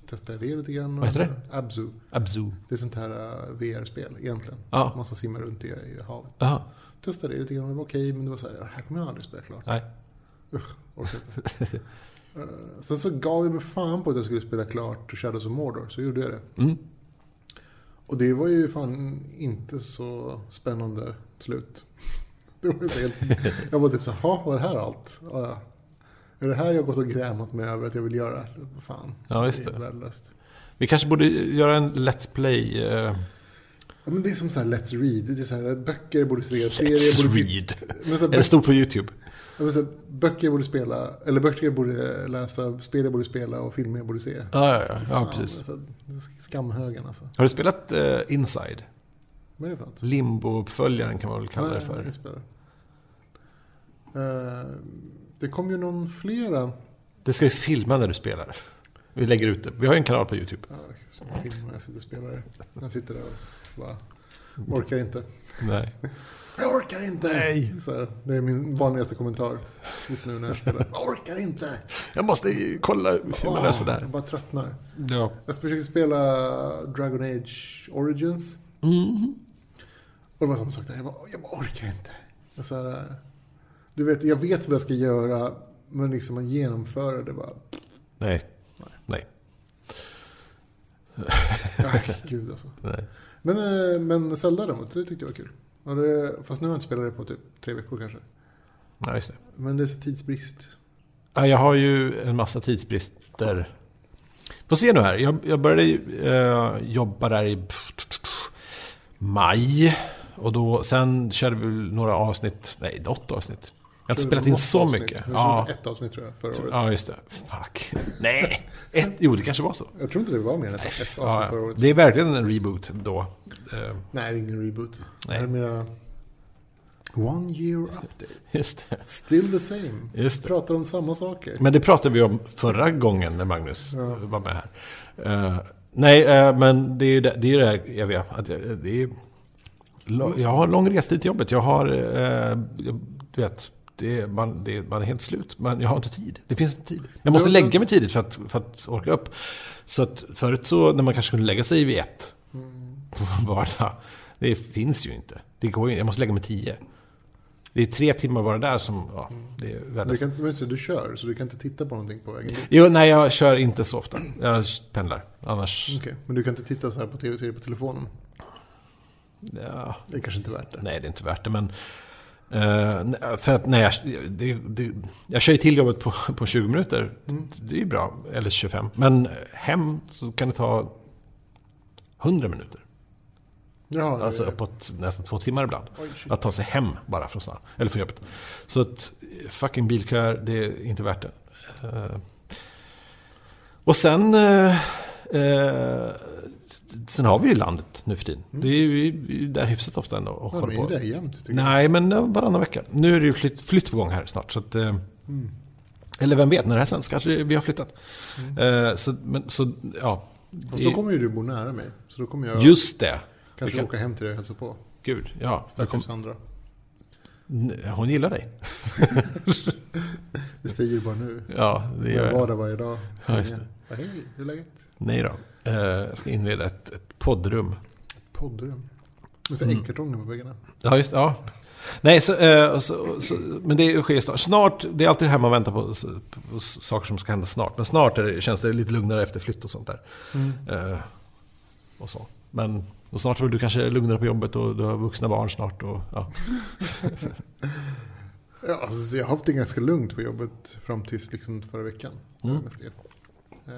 Speaker 1: testade det lite grann.
Speaker 2: Vad heter det?
Speaker 1: Abzu.
Speaker 2: Abzu.
Speaker 1: Det är sånt här eh, VR-spel egentligen.
Speaker 2: Ja.
Speaker 1: Man ska simma runt i, i havet.
Speaker 2: Jaha.
Speaker 1: Testade det lite grann, det var okej, men det var så här, "Ja, det här kommer jag aldrig spela klart.
Speaker 2: Nej.
Speaker 1: Orkar inte. Eh, sen så gav jag mig fan på att jag skulle spela klart Shadows of Mordor, så gjorde jag det.
Speaker 2: Mm.
Speaker 1: Och det var ju fan inte så spännande slut. Det var ju så helt, jag var typ så här, "Ha, var det här allt? Ja, ja. Är det här jag gått och grämat mig över att jag vill göra? Fan,
Speaker 2: Ja, just
Speaker 1: är
Speaker 2: det.
Speaker 1: värdelöst.
Speaker 2: Vi kanske borde göra en Let's Play... eh,
Speaker 1: Ja, men det är som så här Let's Read. Det är så här, böcker borde se, serier
Speaker 2: Let's
Speaker 1: borde titta.
Speaker 2: Read.
Speaker 1: Men så här,
Speaker 2: Är det
Speaker 1: böcker,
Speaker 2: stort på YouTube?
Speaker 1: ja, men så här, böcker borde spela, eller böcker jag borde läsa, spel jag borde spela och filmer jag borde se.
Speaker 2: Ja, ja, ja. ja
Speaker 1: Fan,
Speaker 2: precis.
Speaker 1: alltså, skamhögen alltså.
Speaker 2: Har du spelat eh, Inside?
Speaker 1: Vad är det för något?
Speaker 2: Limbo-uppföljaren kan man väl kalla det
Speaker 1: Nej,
Speaker 2: för.
Speaker 1: jag spelar. Eh, det kom ju någon flera...
Speaker 2: Det ska vi filma när du spelar. Vi lägger ut det. Vi har ju en kanal på YouTube.
Speaker 1: Ja, filmer jag sitter och spelar. det. Jag sitter där och s- bara orkar inte.
Speaker 2: Nej.
Speaker 1: Jag orkar inte!
Speaker 2: Nej.
Speaker 1: Så här, det är min vanligaste kommentar just nu när jag spelar. Jag orkar inte!
Speaker 2: Jag måste ju kolla hur man löser det
Speaker 1: Jag
Speaker 2: här.
Speaker 1: bara tröttnar.
Speaker 2: Ja.
Speaker 1: Jag försökte spela Dragon Age Origins.
Speaker 2: Mm.
Speaker 1: Och det var som sagt, jag bara, jag bara orkar inte. Jag så här, eh, du vet, jag vet vad jag ska göra, men liksom att genomföra det bara...
Speaker 2: Nej. Nej.
Speaker 1: Aj, gud alltså.
Speaker 2: Nej.
Speaker 1: Men, eh, men Zelda däremot, det tyckte jag var kul. Och det, fast nu har jag inte spelat det på typ tre veckor kanske.
Speaker 2: Ja, just det.
Speaker 1: Men det är så tidsbrist.
Speaker 2: Ja, jag har ju en massa tidsbrister. Får se nu här. Jag, jag började ju, eh, jobba där i maj. Och då, sen körde vi några avsnitt. Nej, något avsnitt. Jag har inte spelat in
Speaker 1: Något
Speaker 2: så
Speaker 1: avsnitt.
Speaker 2: mycket.
Speaker 1: Vi
Speaker 2: Ja,
Speaker 1: körde ett avsnitt tror jag förra året.
Speaker 2: ja, just det. Fuck. Nej. Ett, jo, det kanske var så.
Speaker 1: Jag tror inte det var mer än ett avsnitt Alltså,
Speaker 2: Ja,
Speaker 1: förra året.
Speaker 2: det är verkligen en reboot då. Eh,
Speaker 1: Nej, det är ingen reboot.
Speaker 2: Nej.
Speaker 1: Det är mera... One year update.
Speaker 2: Just det.
Speaker 1: Still the same.
Speaker 2: Just det.
Speaker 1: Pratar om samma saker.
Speaker 2: Men det pratade vi om förra gången när Magnus var med här. Eh, nej, eh, men det är ju det, det, är ju det här, jag vet. Att jag, det är, lo- jag har lång restid till jobbet. Jag har, eh, jag, du vet, det, är- man, det, är- man är helt slut. Men jag har inte tid. Det finns inte tid. Jag måste
Speaker 1: Du-
Speaker 2: lägga mig tidigt för att, för att orka upp. Så att förut så, när man kanske kunde lägga sig vid ett på vardag. Det finns ju inte. Det går ju, jag måste lägga mig tio. Det är tre timmar bara där som, ja, det är
Speaker 1: Du,
Speaker 2: värdelöst.
Speaker 1: kan, men så du kör, så du kan inte titta på någonting på vägen dit.
Speaker 2: Jo, nej, jag kör inte så ofta. Jag pendlar. Annars...
Speaker 1: Okej, Men du kan inte titta så här på tv-serier på telefonen.
Speaker 2: Ja,
Speaker 1: Det är kanske inte värt det.
Speaker 2: nej, det är inte värt det. Men... eh, nej, för att nej, jag, det, det, jag kör ju till jobbet på, på 20 minuter.
Speaker 1: Mm.
Speaker 2: Det är ju bra. Eller 25. Men hem så kan det ta 100 minuter.
Speaker 1: Jaha, det-
Speaker 2: Alltså uppåt nästan två timmar ibland.
Speaker 1: Oj, shit.
Speaker 2: Att ta sig hem bara från stan. Eller från jobbet. Så att eh, fucking bilköer, det är inte värt det. Eh, Och sen... eh, eh, Sen har vi ju landet nu för tiden. Det är ju vi är ju där hyfsat ofta ändå och
Speaker 1: Man är
Speaker 2: håller
Speaker 1: ju
Speaker 2: på.
Speaker 1: där jämt. tycker jag.
Speaker 2: Nej, men eh, varannan vecka. Nu är det ju flytt, flytt på gång här snart. Så att, eh,
Speaker 1: Mm.
Speaker 2: Eller vem vet, när det här sänds kanske vi har flyttat.
Speaker 1: Mm.
Speaker 2: Eh, så, men, så, ja.
Speaker 1: Fast då kommer ju du bo nära mig. Så då kommer jag
Speaker 2: Just det.
Speaker 1: kanske
Speaker 2: Vilka-
Speaker 1: åka hem till dig och hälsa på.
Speaker 2: Gud, ja. Jag kom-
Speaker 1: Stackars Sandra.
Speaker 2: N- Hon gillar dig.
Speaker 1: Det säger du bara nu.
Speaker 2: Ja, det gör
Speaker 1: Jag var
Speaker 2: jag.
Speaker 1: där varje dag.
Speaker 2: Ja, just det.
Speaker 1: Bara, Hej, hur är läget?
Speaker 2: Nej då. Eh, jag ska inreda ett, ett poddrum.
Speaker 1: Poddrum. Med
Speaker 2: Mm.
Speaker 1: så äggkartonger på väggarna.
Speaker 2: Ja, just Ja. Nej, så, eh, och så, och så, men det sker snart. Snart, det är alltid det här man väntar på, s- på s- saker som ska hända snart. Men snart är det, känns det lite lugnare efter flytt och sånt där. Eh, och så. Men och snart är du kanske lugnare på jobbet och du har vuxna barn snart. Och, ja.
Speaker 1: Ja, alltså, jag har haft det ganska lugnt på jobbet fram tills liksom förra veckan.
Speaker 2: Mm.
Speaker 1: mest del. Eh,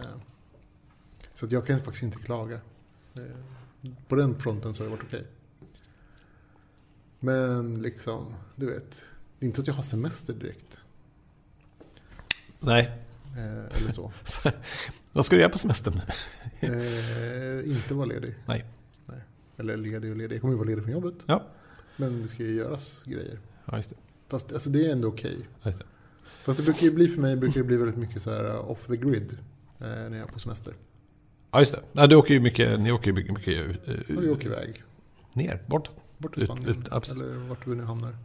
Speaker 1: Så att jag kan faktiskt inte klaga. Eh, På den fronten så har det varit okej. Men liksom, du vet. Det är inte så att jag har semester direkt.
Speaker 2: Nej,
Speaker 1: eh, Eller så.
Speaker 2: vad ska du göra på semestern?
Speaker 1: Eh, Inte vara ledig.
Speaker 2: Nej.
Speaker 1: Eller ledig och ledig. Jag kommer ju vara ledig från jobbet.
Speaker 2: Ja.
Speaker 1: Men det ska ju göras grejer.
Speaker 2: Ja, just det.
Speaker 1: Fast alltså, det är ändå okej.
Speaker 2: Ja, just det.
Speaker 1: Fast det brukar ju bli för mig brukar det bli väldigt mycket så här eh, off the grid. eh, När jag är på semester.
Speaker 2: Ja, just det. Ja, du åker ju mycket, ni åker ju mycket, mycket ut- ut-
Speaker 1: Och vi åker iväg.
Speaker 2: ner, bort.
Speaker 1: Bort till
Speaker 2: Mm. Ut-
Speaker 1: Spanien.
Speaker 2: ut- ja, precis.
Speaker 1: eller vart vi nu hamnar.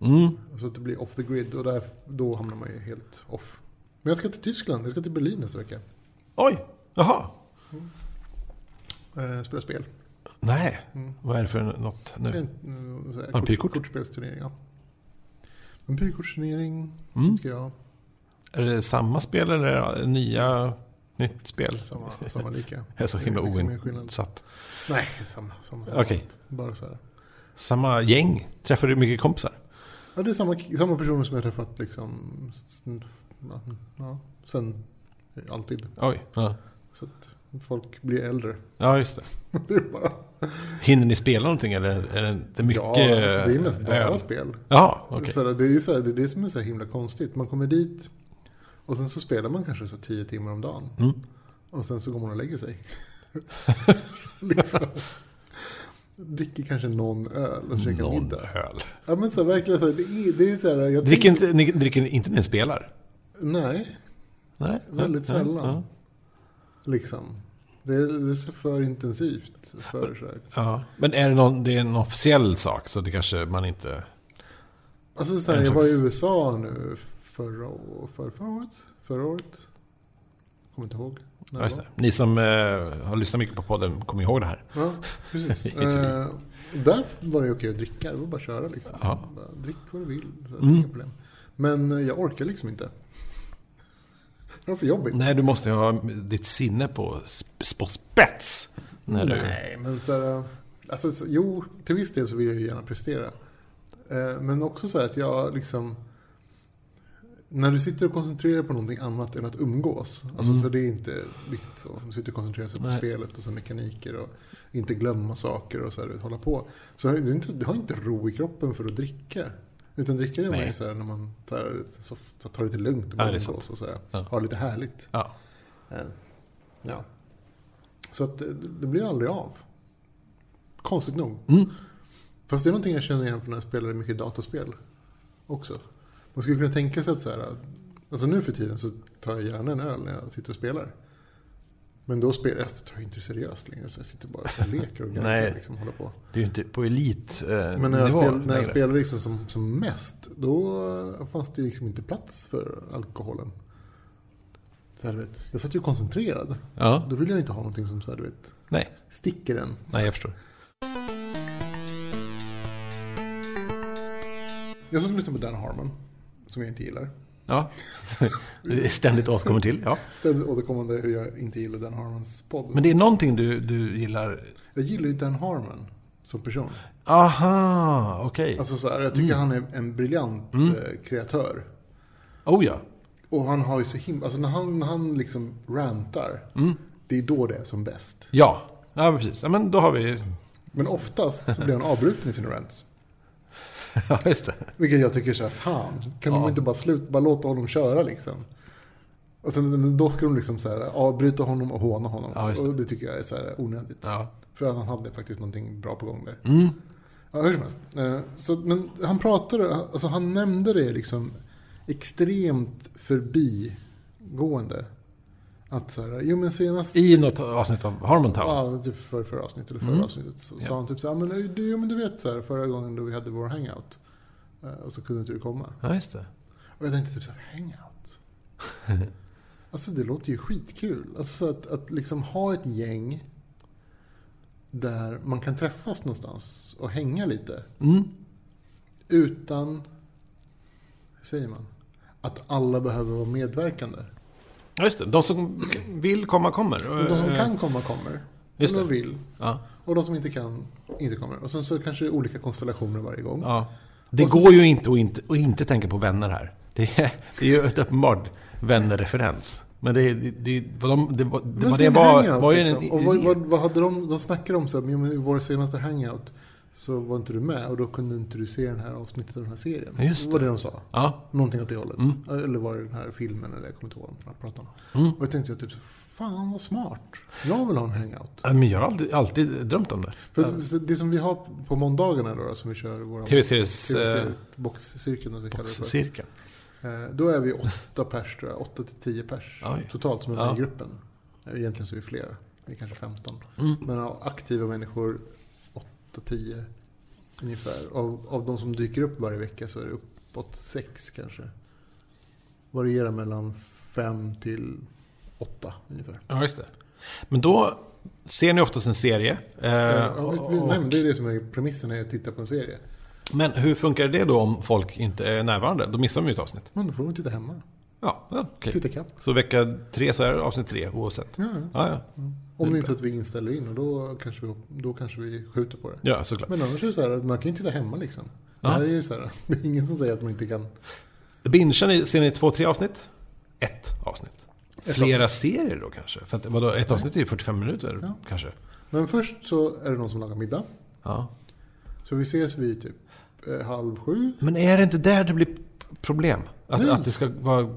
Speaker 2: Mm.
Speaker 1: Så att det blir off the grid och där, då hamnar man ju helt off. Men jag ska till Tyskland, jag ska till Berlin nästa vecka.
Speaker 2: Oj, jaha.
Speaker 1: Eh, spela spel.
Speaker 2: Nej,
Speaker 1: Mm.
Speaker 2: vad är det för något
Speaker 1: Det är
Speaker 2: nu?
Speaker 1: En, eh, så här,
Speaker 2: Har du
Speaker 1: kort,
Speaker 2: pykort?
Speaker 1: kortspelsturnering, ja. En pykortsturnering
Speaker 2: Mm.
Speaker 1: ska jag ha.
Speaker 2: Är det samma spel eller är det nya, nytt spel?
Speaker 1: Samma, samma lika.
Speaker 2: Jag är så himla
Speaker 1: Det är liksom ingen skillnad.
Speaker 2: oinsatt.
Speaker 1: Nej, samma. samma, samma
Speaker 2: Okej.
Speaker 1: Bara så här.
Speaker 2: Samma gäng? Träffar du mycket kompisar?
Speaker 1: Ja, det är samma, samma personer som jag träffat liksom, s- s- ja, ja, sen alltid.
Speaker 2: Oj. Ja,
Speaker 1: Så att folk blir äldre.
Speaker 2: ja just det.
Speaker 1: det är bara...
Speaker 2: Hinner ni spela någonting eller är det inte mycket?
Speaker 1: ja, alltså, det är mest bara
Speaker 2: öl?
Speaker 1: spel.
Speaker 2: Ja, okej.
Speaker 1: Så här, det, är så här, det är det som är så här himla konstigt. Man kommer dit och sen så spelar man kanske så här tio timmar om dagen.
Speaker 2: Mm.
Speaker 1: Och sen så går man och lägger sig. liksom. Dricker kanske någon öl och käkar
Speaker 2: Någon
Speaker 1: middag.
Speaker 2: öl.
Speaker 1: Ja men så här, verkligen så här, det är, det är så här. Jag
Speaker 2: Dricker
Speaker 1: tänker-
Speaker 2: inte, ni, dricker inte när ni spelar?
Speaker 1: Nej,
Speaker 2: Nej.
Speaker 1: väldigt
Speaker 2: nej,
Speaker 1: sällan.
Speaker 2: Ja.
Speaker 1: Liksom. Det är, det är så för intensivt. För så här.
Speaker 2: Ja. Men är det, någon, det är en officiell sak så det kanske man inte...
Speaker 1: Alltså så här,
Speaker 2: En
Speaker 1: jag var i
Speaker 2: slags-
Speaker 1: USA nu förra, å- för, förra året. Förra året. Kommer inte ihåg. när
Speaker 2: Ja, just
Speaker 1: var.
Speaker 2: det. Ni som eh, har lyssnat mycket på podden kommer ihåg det här.
Speaker 1: Ja, precis.
Speaker 2: Inte vi.
Speaker 1: eh, och där var det okej att dricka. Det var bara att köra liksom.
Speaker 2: Ja.
Speaker 1: Bara, drick vad du vill. Så här,
Speaker 2: Mm.
Speaker 1: Inga problem. Men eh, jag orkar liksom inte. Det var för jobbigt.
Speaker 2: Nej, du måste ju ha ditt sinne på, sp- på spets. När du...
Speaker 1: Nej, men så här, eh, Alltså, så- jo, till viss del så vill jag ju gärna prestera. Eh, Men också så här att jag liksom... När du sitter och koncentrerar dig på någonting annat än att umgås. Alltså
Speaker 2: Mm.
Speaker 1: för det är inte riktigt så. Du sitter och koncentrerar sig på
Speaker 2: Nej.
Speaker 1: spelet och så mekaniker och inte glömma saker och så här, hålla på. Så du har inte, du har inte ro i kroppen för att dricka. Utan dricka gör man ju
Speaker 2: Nej.
Speaker 1: så här när man så här, så, så tar det lite lugnt och
Speaker 2: Ja, det är
Speaker 1: umgås
Speaker 2: sant.
Speaker 1: och så här,
Speaker 2: Ja.
Speaker 1: har lite härligt.
Speaker 2: Ja.
Speaker 1: Eh, Ja. Så att eh, det blir aldrig av. Konstigt nog.
Speaker 2: Mm.
Speaker 1: Fast det är någonting jag känner igen från när jag spelade mycket datorspel också. Man skulle kunna tänka sig att så här, alltså nu för tiden så tar jag gärna en öl när jag sitter och spelar. Men då spelar jag, jag tar inte det seriöst längre så jag sitter bara och leker och
Speaker 2: Nej.
Speaker 1: gadgar liksom håller på.
Speaker 2: Det är ju inte på elit eh,
Speaker 1: Men när jag,
Speaker 2: nivå
Speaker 1: spel, när jag
Speaker 2: längre.
Speaker 1: spelade liksom som, som mest, då fanns det liksom inte plats för alkoholen. Så här, du vet, jag satt ju koncentrerad.
Speaker 2: Ja,
Speaker 1: Då vill jag inte ha någonting som så här, du vet,
Speaker 2: nej.
Speaker 1: sticker en.
Speaker 2: Nej, jag förstår.
Speaker 1: Jag satt och lyssnade på Dan Harmon, som jag inte gillar.
Speaker 2: Ja. Det är Ständigt återkommer till. Ja.
Speaker 1: Ständigt återkommande hur jag inte gillar Dan Harmons podd.
Speaker 2: Men det är någonting du, du gillar.
Speaker 1: Jag gillar ju Dan Harmon som person.
Speaker 2: Aha, okej.
Speaker 1: Alltså så här, jag tycker han är en briljant eh, kreatör.
Speaker 2: Oh ja.
Speaker 1: Och han har ju så himla... Alltså när han, när han liksom rantar, det är då det är som bäst.
Speaker 2: Ja, ja men precis. Ja, men då har vi...
Speaker 1: Men oftast så blir han avbruten i sina rants.
Speaker 2: Ja, just det.
Speaker 1: Vilket jag tycker så här, fan, kan de
Speaker 2: Ja.
Speaker 1: inte bara sluta, bara låta honom köra liksom? Och sen då ska de liksom så här, avbryta honom och håna honom.
Speaker 2: Ja, just det.
Speaker 1: Och det tycker jag är så här onödigt.
Speaker 2: Ja.
Speaker 1: För att han hade faktiskt någonting bra på gång där.
Speaker 2: Mm.
Speaker 1: Ja, hur som helst. Eh, Så, men han pratade, alltså han nämnde det liksom extremt förbigående. Att så här, jo men senast,
Speaker 2: I något avsnitt av Harmontown.
Speaker 1: ja, typ för, förra avsnittet eller förra
Speaker 2: Mm.
Speaker 1: avsnittet, så
Speaker 2: Ja.
Speaker 1: sa han typ så här, "Ja, men du, jo, men du vet så här, förra gången då vi hade vår hangout. eh, Och så kunde inte du komma.
Speaker 2: Ja, just det.
Speaker 1: Och jag tänkte typ så här, hangout? alltså det låter ju skitkul. Alltså så att, att liksom ha ett gäng där man kan träffas någonstans och hänga lite.
Speaker 2: Mm.
Speaker 1: Utan, hur säger man? Att alla behöver vara medverkande.
Speaker 2: Ja, just det. De som vill komma kommer.
Speaker 1: Och de som kan komma kommer. Och
Speaker 2: Eh, Just
Speaker 1: de
Speaker 2: det.
Speaker 1: vill.
Speaker 2: Ja.
Speaker 1: Och de som inte kan, inte kommer. Och sen så kanske det är olika konstellationer varje gång.
Speaker 2: ja. Det
Speaker 1: Och så-
Speaker 2: går ju inte att inte, att inte tänka på vänner här. Det är, det är ju ett uppenbart vännerreferens. Men det, det, det, vad de, det, var- det,
Speaker 1: Men
Speaker 2: vad
Speaker 1: så
Speaker 2: det
Speaker 1: en
Speaker 2: var,
Speaker 1: hangout,
Speaker 2: var ju en,
Speaker 1: liksom. Och vad, vad, vad hade de, de snackade om så här, "Men, men i vår senaste hangout så var inte du med och då kunde inte du se den här avsnittet av den här serien.
Speaker 2: Ja, just Mm.
Speaker 1: var det de sa.
Speaker 2: Ja,
Speaker 1: Någonting åt det hållet. Eller var det den här filmen eller jag kommer inte ihåg vad de pratade om.
Speaker 2: Mm.
Speaker 1: Och jag tänkte jag typ, så, fan vad smart. Jag vill ha en hangout.
Speaker 2: Ja, men jag har alltid, alltid drömt om det.
Speaker 1: För så- det som vi har på måndagarna då, då som vi kör vår
Speaker 2: TV-series... eh,
Speaker 1: boxcirkeln, vi kallar det
Speaker 2: Boxcirkeln.
Speaker 1: för. Eh, Då är vi åtta pers tror jag, åtta till tio pers
Speaker 2: Oj.
Speaker 1: totalt som är med
Speaker 2: Ja.
Speaker 1: i gruppen. Eh, Egentligen så är vi fler, vi är kanske 15.
Speaker 2: Mm.
Speaker 1: Men av aktiva människor, 8-10 ungefär. Av, av de som dyker upp varje vecka så är det uppåt 6 kanske. Varierar mellan 5 till 8 ungefär.
Speaker 2: Ja, just det. Men då ser ni oftast en serie. eh,
Speaker 1: Ja, visst, vi-
Speaker 2: och-
Speaker 1: nej, men det är det som är premissen när jag tittar på en serie.
Speaker 2: men hur funkar det då om folk inte är närvarande? Då missar de ju ett avsnitt.
Speaker 1: Men då får de titta hemma.
Speaker 2: Ja, ja, okej.
Speaker 1: Titta kapp.
Speaker 2: Så vecka tre så är det avsnitt tre oavsett.
Speaker 1: Ja, ja.
Speaker 2: Ja, ja.
Speaker 1: Om det inte är så att vi inställer in och då kanske vi, då kanske vi skjuter på det.
Speaker 2: ja såklart.
Speaker 1: Men annars är det så här att man kan ju titta hemma liksom. Det
Speaker 2: Ja.
Speaker 1: här är ju så här, det är ingen som säger att man inte kan.
Speaker 2: Bingear ni, ser ni två, tre avsnitt? Ett avsnitt.
Speaker 1: Ett
Speaker 2: Flera serier då kanske? För att, vadå, ett avsnitt är ju 45 minuter
Speaker 1: Ja.
Speaker 2: kanske.
Speaker 1: Men först så är det någon som lagar middag.
Speaker 2: Ja.
Speaker 1: Så vi ses vid typ eh, halv sju.
Speaker 2: Men är det inte där det blir problem? Att,
Speaker 1: Nej.
Speaker 2: att det ska vara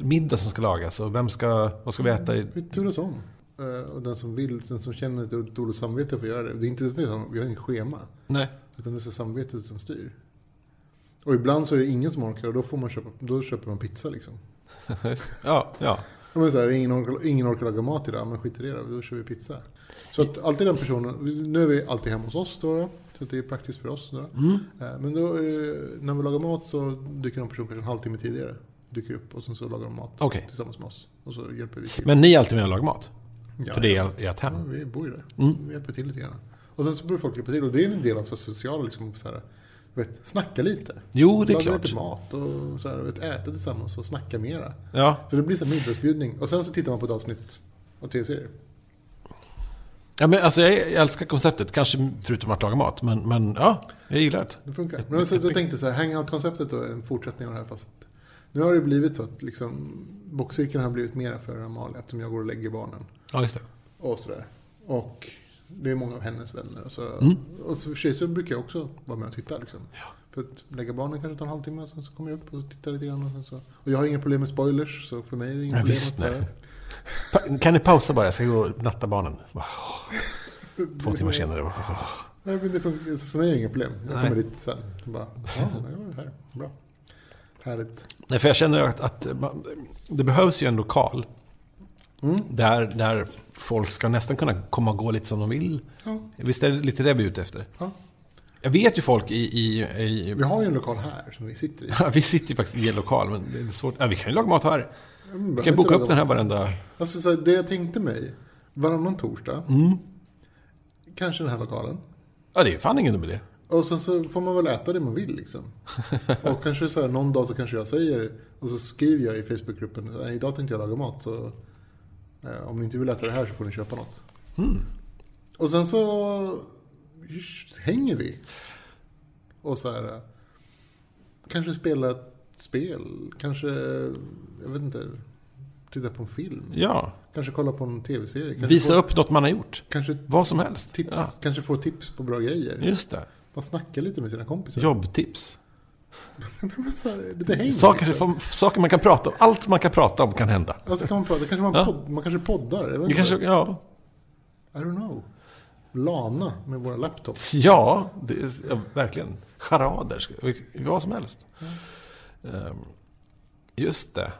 Speaker 2: middag som ska lagas och vem ska, vad ska vi äta? I?
Speaker 1: Vi turas om. Eh, Och den som vill, den som känner ett dåligt samvete får göra det. Det är inte så att vi har- vi har inget schema.
Speaker 2: Nej.
Speaker 1: Utan det är så samvetet som styr. Och ibland så är det ingen som orkar och då, får man köpa, då köper man pizza liksom.
Speaker 2: ja, ja.
Speaker 1: Ja, Men så här, ingen, orkar, ingen orkar laga mat idag, men skit i det då, då kör vi pizza. Så att alltid den personen, nu är vi alltid hemma hos oss då, då så att det är praktiskt för oss. Då, då.
Speaker 2: Mm.
Speaker 1: Eh, Men då, är det- när vi lagar mat så dyker någon person kanske en halvtimme tidigare. Dyker upp och sen så lagar de mat
Speaker 2: Okej.
Speaker 1: tillsammans med oss. Och så hjälper vi till.
Speaker 2: Men ni är alltid med och lagar mat?
Speaker 1: Ja,
Speaker 2: För det
Speaker 1: ja.
Speaker 2: är ert hem?
Speaker 1: Ja, vi bor ju där.
Speaker 2: Mm.
Speaker 1: Vi hjälper till lite grann. Och sen så börjar folk hjälpa till och det är en del av så här sociala, liksom, så här, du vet, snacka lite.
Speaker 2: Jo, det är
Speaker 1: Laga
Speaker 2: klart.
Speaker 1: lite mat och så här, du vet, äta tillsammans och snacka mera.
Speaker 2: Ja.
Speaker 1: Så det blir så här middagsbjudning. Och sen så tittar man på ett avsnitt av tv-serier.
Speaker 2: Ja, men alltså, jag, jag älskar konceptet, kanske förutom att laga mat. Men, men ja, jag gillar det.
Speaker 1: Det funkar. Men så, jag tänkte så här, hangout-konceptet då är en fortsättning av det här fast nu har det blivit så att liksom, boxcirkeln har blivit mera för Amalia eftersom jag går och lägger barnen.
Speaker 2: Ja, just det.
Speaker 1: Och sådär. Och det är många av hennes vänner. Och så,
Speaker 2: Mm.
Speaker 1: och så för sig så brukar jag också vara med och titta. Liksom. För att lägga barnen kanske tar en halvtimme och sen så kommer jag upp och tittar lite grann. Och, sen så. och jag har inga problem med spoilers så för mig är det inget
Speaker 2: Ja,
Speaker 1: problem.
Speaker 2: visst,
Speaker 1: att så här-
Speaker 2: nej. Pa- Kan ni pausa bara? Jag ska gå och natta barnen. Åh, Två
Speaker 1: Mm.
Speaker 2: timmar senare. Åh.
Speaker 1: Nej, men det funkar, alltså för mig är det inga problem. Jag
Speaker 2: Nej.
Speaker 1: kommer dit sen. Jag bara, ja, det var det här. Bra. Härligt.
Speaker 2: Nej, för jag känner att, att man, det behövs ju en lokal
Speaker 1: Mm.
Speaker 2: där, där folk ska nästan kunna komma och gå lite som de vill.
Speaker 1: Ja,
Speaker 2: Visst är det lite det vi är ute efter?
Speaker 1: ja.
Speaker 2: Jag vet ju folk i... i, i
Speaker 1: Vi har ju en lokal här som vi sitter i.
Speaker 2: vi sitter ju faktiskt i en lokal, men det är svårt. Ja, vi kan ju laga mat här. Vi
Speaker 1: behöver
Speaker 2: kan boka
Speaker 1: inte
Speaker 2: upp den här
Speaker 1: laga
Speaker 2: varenda...
Speaker 1: Alltså, så här, det jag tänkte mig, varannan torsdag,
Speaker 2: Mm.
Speaker 1: kanske den här lokalen.
Speaker 2: Ja, det är ju fan ingen dum idé.
Speaker 1: Och sen så får man väl äta det man vill liksom. Och kanske så här, någon dag så kanske jag säger, och så skriver jag i Facebookgruppen, "Nej, idag tänkte jag laga mat så eh, om ni inte vill äta det här så får ni köpa något.
Speaker 2: Hmm.
Speaker 1: Och sen så hänger vi. Och så här, eh, kanske spela ett spel, kanske, jag vet inte, titta på en film,
Speaker 2: Ja,
Speaker 1: kanske kolla på en tv-serie. Kanske
Speaker 2: visa
Speaker 1: få,
Speaker 2: upp något man har gjort.
Speaker 1: Kanske
Speaker 2: Vad som helst.
Speaker 1: tips,
Speaker 2: Ja,
Speaker 1: kanske få tips på bra grejer.
Speaker 2: just det.
Speaker 1: Man snackar lite med sina kompisar.
Speaker 2: Jobbtips.
Speaker 1: Så här, lite häng.
Speaker 2: Saker,
Speaker 1: liksom.
Speaker 2: som- saker man kan prata om. Allt man kan prata om kan hända.
Speaker 1: Och så kan man prata, kanske man,
Speaker 2: Ja.
Speaker 1: podd, man kanske poddar. Jag vet
Speaker 2: Det
Speaker 1: inte.
Speaker 2: kanske, ja,
Speaker 1: I don't know. Lana med våra laptops.
Speaker 2: ja, det är, ja, verkligen. Charader, ska- vad som helst. Ehm, Just det.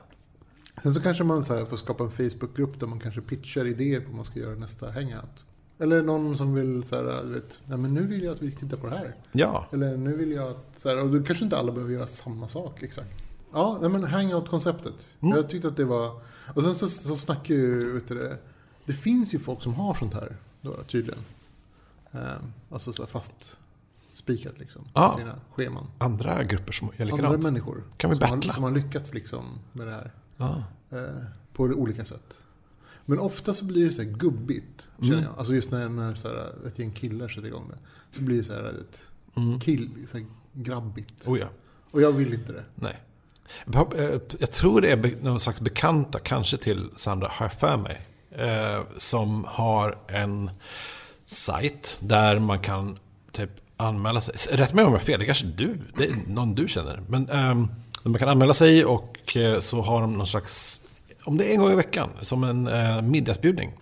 Speaker 1: Sen så kanske man så här får skapa en Facebookgrupp där man kanske pitchar idéer på vad man ska göra nästa hangout. Eller någon som vill så här, du vet, nej men nu vill jag att vi tittar på det här.
Speaker 2: Ja,
Speaker 1: Eller nu vill jag att, så här, och då kanske inte alla behöver göra samma sak exakt. Ja, nej men hangout-konceptet.
Speaker 2: Mm.
Speaker 1: Jag tyckte att det var, och sen så, så snackar ju, vet du det, det finns ju folk som har sånt här då, tydligen. Ehm, alltså så här fast spikat liksom,
Speaker 2: Ja.
Speaker 1: på sina scheman.
Speaker 2: andra grupper som gör
Speaker 1: Andra
Speaker 2: Ah. likadant.
Speaker 1: människor
Speaker 2: Kan vi
Speaker 1: som, har,
Speaker 2: battla?
Speaker 1: som har lyckats liksom med det här
Speaker 2: Ja.
Speaker 1: eh, på olika sätt. Men ofta så blir det så här gubbigt, känner
Speaker 2: Mm.
Speaker 1: jag. Alltså just när, när så här, ett gäng killar sätter igång det. Så blir det så här, du vet, kill, så här grabbigt.
Speaker 2: Mm. Oh, ja.
Speaker 1: Och jag vill inte det.
Speaker 2: Nej. eh, Jag tror det är be- någon slags bekanta, kanske till Sandra, har jag för mig. eh, Som har en sajt där man kan typ anmäla sig. Rätt mig om jag har fel, det kanske du, det är någon du känner. Men ehm, där man kan anmäla sig och eh, så har de någon slags, om det är en gång i veckan, som en eh, middagsbjudning.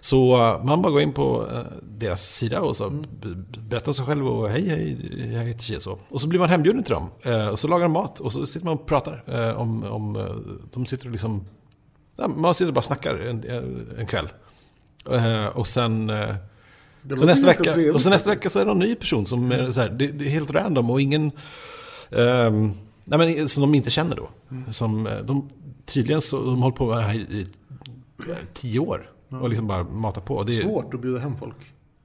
Speaker 2: Så eh, man bara går in på eh, deras sida och så b- b- berättar om sig själv och hej, hej, jag heter Chia så. Och så blir man hembjuden till dem. Eh, Och så lagar de mat och så sitter man och pratar. eh, Om, om, eh, de sitter och liksom, ja, man sitter och bara snackar en, eh, en kväll. Eh, Och sen, eh,
Speaker 1: det
Speaker 2: så
Speaker 1: låter
Speaker 2: nästa,
Speaker 1: ganska
Speaker 2: vecka,
Speaker 1: trevligt
Speaker 2: och så nästa
Speaker 1: faktiskt.
Speaker 2: vecka så är det någon ny person som är så här, det, det är helt random och ingen, ehm, nej men, som de inte känner då.
Speaker 1: Mm.
Speaker 2: Som, eh, de, tydligen så, de har hållit på med det här i, i tio år. Och liksom bara matar på. Det är,
Speaker 1: Svårt att bjuda hem folk.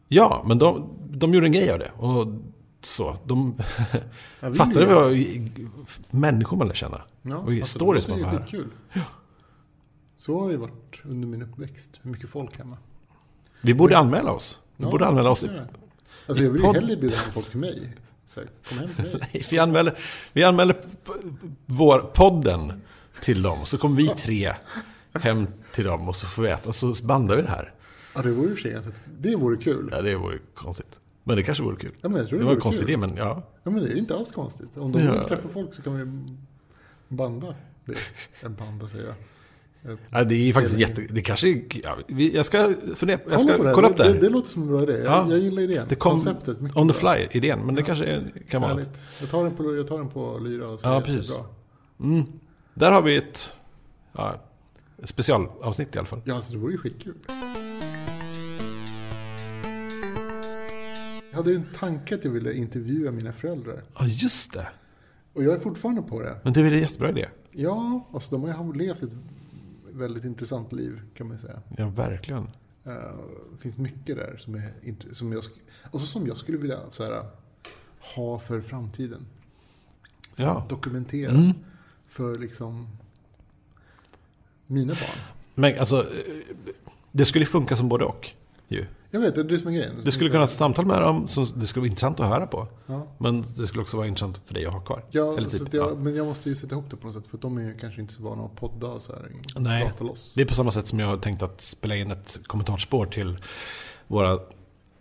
Speaker 2: Ja, men de, de gjorde en grej av det. Och så, de
Speaker 1: Jag vill
Speaker 2: fattade
Speaker 1: ju det.
Speaker 2: vad människor man lär känna. och
Speaker 1: alltså,
Speaker 2: stories
Speaker 1: det
Speaker 2: man får
Speaker 1: låter ju
Speaker 2: höra.
Speaker 1: skitkul. Så har det ju varit under min uppväxt. Hur mycket folk hemma.
Speaker 2: Vi borde anmäla oss. Vi
Speaker 1: Ja,
Speaker 2: borde anmäla oss.
Speaker 1: det är det. Alltså jag vill ju
Speaker 2: podd-
Speaker 1: hellre bjuda hem folk till mig. Så här, kom hem till mig.
Speaker 2: Vi anmäler, vi anmäler p- vår podden till dem. Så kommer vi tre hem till dem och så får vi äta. Och så bandar vi det här.
Speaker 1: Ja, det vore ju i och för sig ganska... Det vore kul.
Speaker 2: Ja, det vore konstigt. Men det kanske vore kul.
Speaker 1: Ja, men jag tror
Speaker 2: Det
Speaker 1: det
Speaker 2: var en
Speaker 1: vore
Speaker 2: konstig
Speaker 1: kul.
Speaker 2: idé, men ja.
Speaker 1: Ja, men det är ju inte alls konstigt. Om de
Speaker 2: Ja.
Speaker 1: vill träffa folk så kan vi banda. Det en banda säger jag.
Speaker 2: ja det är ju faktiskt jätte... Det kanske är... Ja, vi- jag ska fundera på...
Speaker 1: Kolla
Speaker 2: Jag ska
Speaker 1: på det här.
Speaker 2: kolla upp det
Speaker 1: det,
Speaker 2: här.
Speaker 1: det, låter som en bra idé. Jag,
Speaker 2: Ja.
Speaker 1: jag gillar idén.
Speaker 2: Det kom
Speaker 1: Konceptet. mycket
Speaker 2: on the
Speaker 1: bra.
Speaker 2: fly-idén, men det kanske är, kan vara något.
Speaker 1: Härligt. Jag tar den på, jag tar den på lyra och så
Speaker 2: Ja,
Speaker 1: är det
Speaker 2: precis.
Speaker 1: bra.
Speaker 2: Där har vi ett ja, specialavsnitt i alla fall.
Speaker 1: Ja, alltså det vore ju skitkul. Jag hade ju en tanke att jag ville intervjua mina föräldrar.
Speaker 2: Ja, just det.
Speaker 1: Och jag är fortfarande på det.
Speaker 2: Men det är väl en jättebra idé?
Speaker 1: Ja, alltså de har ju levt ett väldigt intressant liv kan man säga.
Speaker 2: Ja, verkligen.
Speaker 1: Eh, Det finns mycket där som, är, int- som, jag, sk- alltså som jag skulle vilja så här, ha för framtiden. Så
Speaker 2: Ja.
Speaker 1: Dokumentera
Speaker 2: Mm.
Speaker 1: för liksom mina barn.
Speaker 2: Men alltså, eh, det skulle funka som både och. ju.
Speaker 1: Jag vet, det är det som är grejen.
Speaker 2: Du skulle kunna ha ett samtal med dem, som det skulle vara intressant att höra på.
Speaker 1: Ja.
Speaker 2: Men det skulle också vara intressant för dig att ha kvar.
Speaker 1: Ja,
Speaker 2: Eller typ,
Speaker 1: så att jag,
Speaker 2: ja.
Speaker 1: men jag måste ju sätta ihop det på något sätt. För att de är ju kanske inte så vana att podda och så här.
Speaker 2: Nej.
Speaker 1: Prata loss.
Speaker 2: Det är på samma sätt som jag har tänkt att spela in ett kommentarspår till våra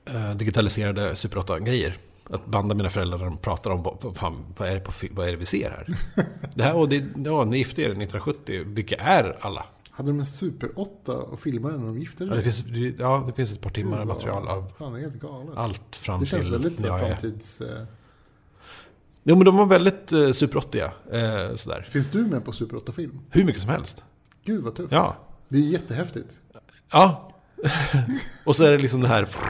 Speaker 2: eh, digitaliserade Super 8-grejer. Att banda mina föräldrar när de pratar om vad, vad fan, vad, är det på, fi- vad är det vi ser här. det här och det, ja, ni gifte er 1970, vilka är alla?
Speaker 1: Hade de en Super 8 och filmade när de gifte
Speaker 2: Ja, det finns, det- ja, det finns ett par timmar
Speaker 1: Gud, vad-
Speaker 2: material av
Speaker 1: Fan, det är helt galet.
Speaker 2: allt fram
Speaker 1: det känns
Speaker 2: till
Speaker 1: väldigt så
Speaker 2: när
Speaker 1: här,
Speaker 2: jag är.
Speaker 1: framtids... Eh,
Speaker 2: Jo, men de var väldigt eh, Super 80 eh, sådär.
Speaker 1: finns du med på Super 8-film?
Speaker 2: Hur mycket som helst.
Speaker 1: Gud vad tufft.
Speaker 2: Ja.
Speaker 1: Det är jättehäftigt.
Speaker 2: Ja. och så är det liksom det här, för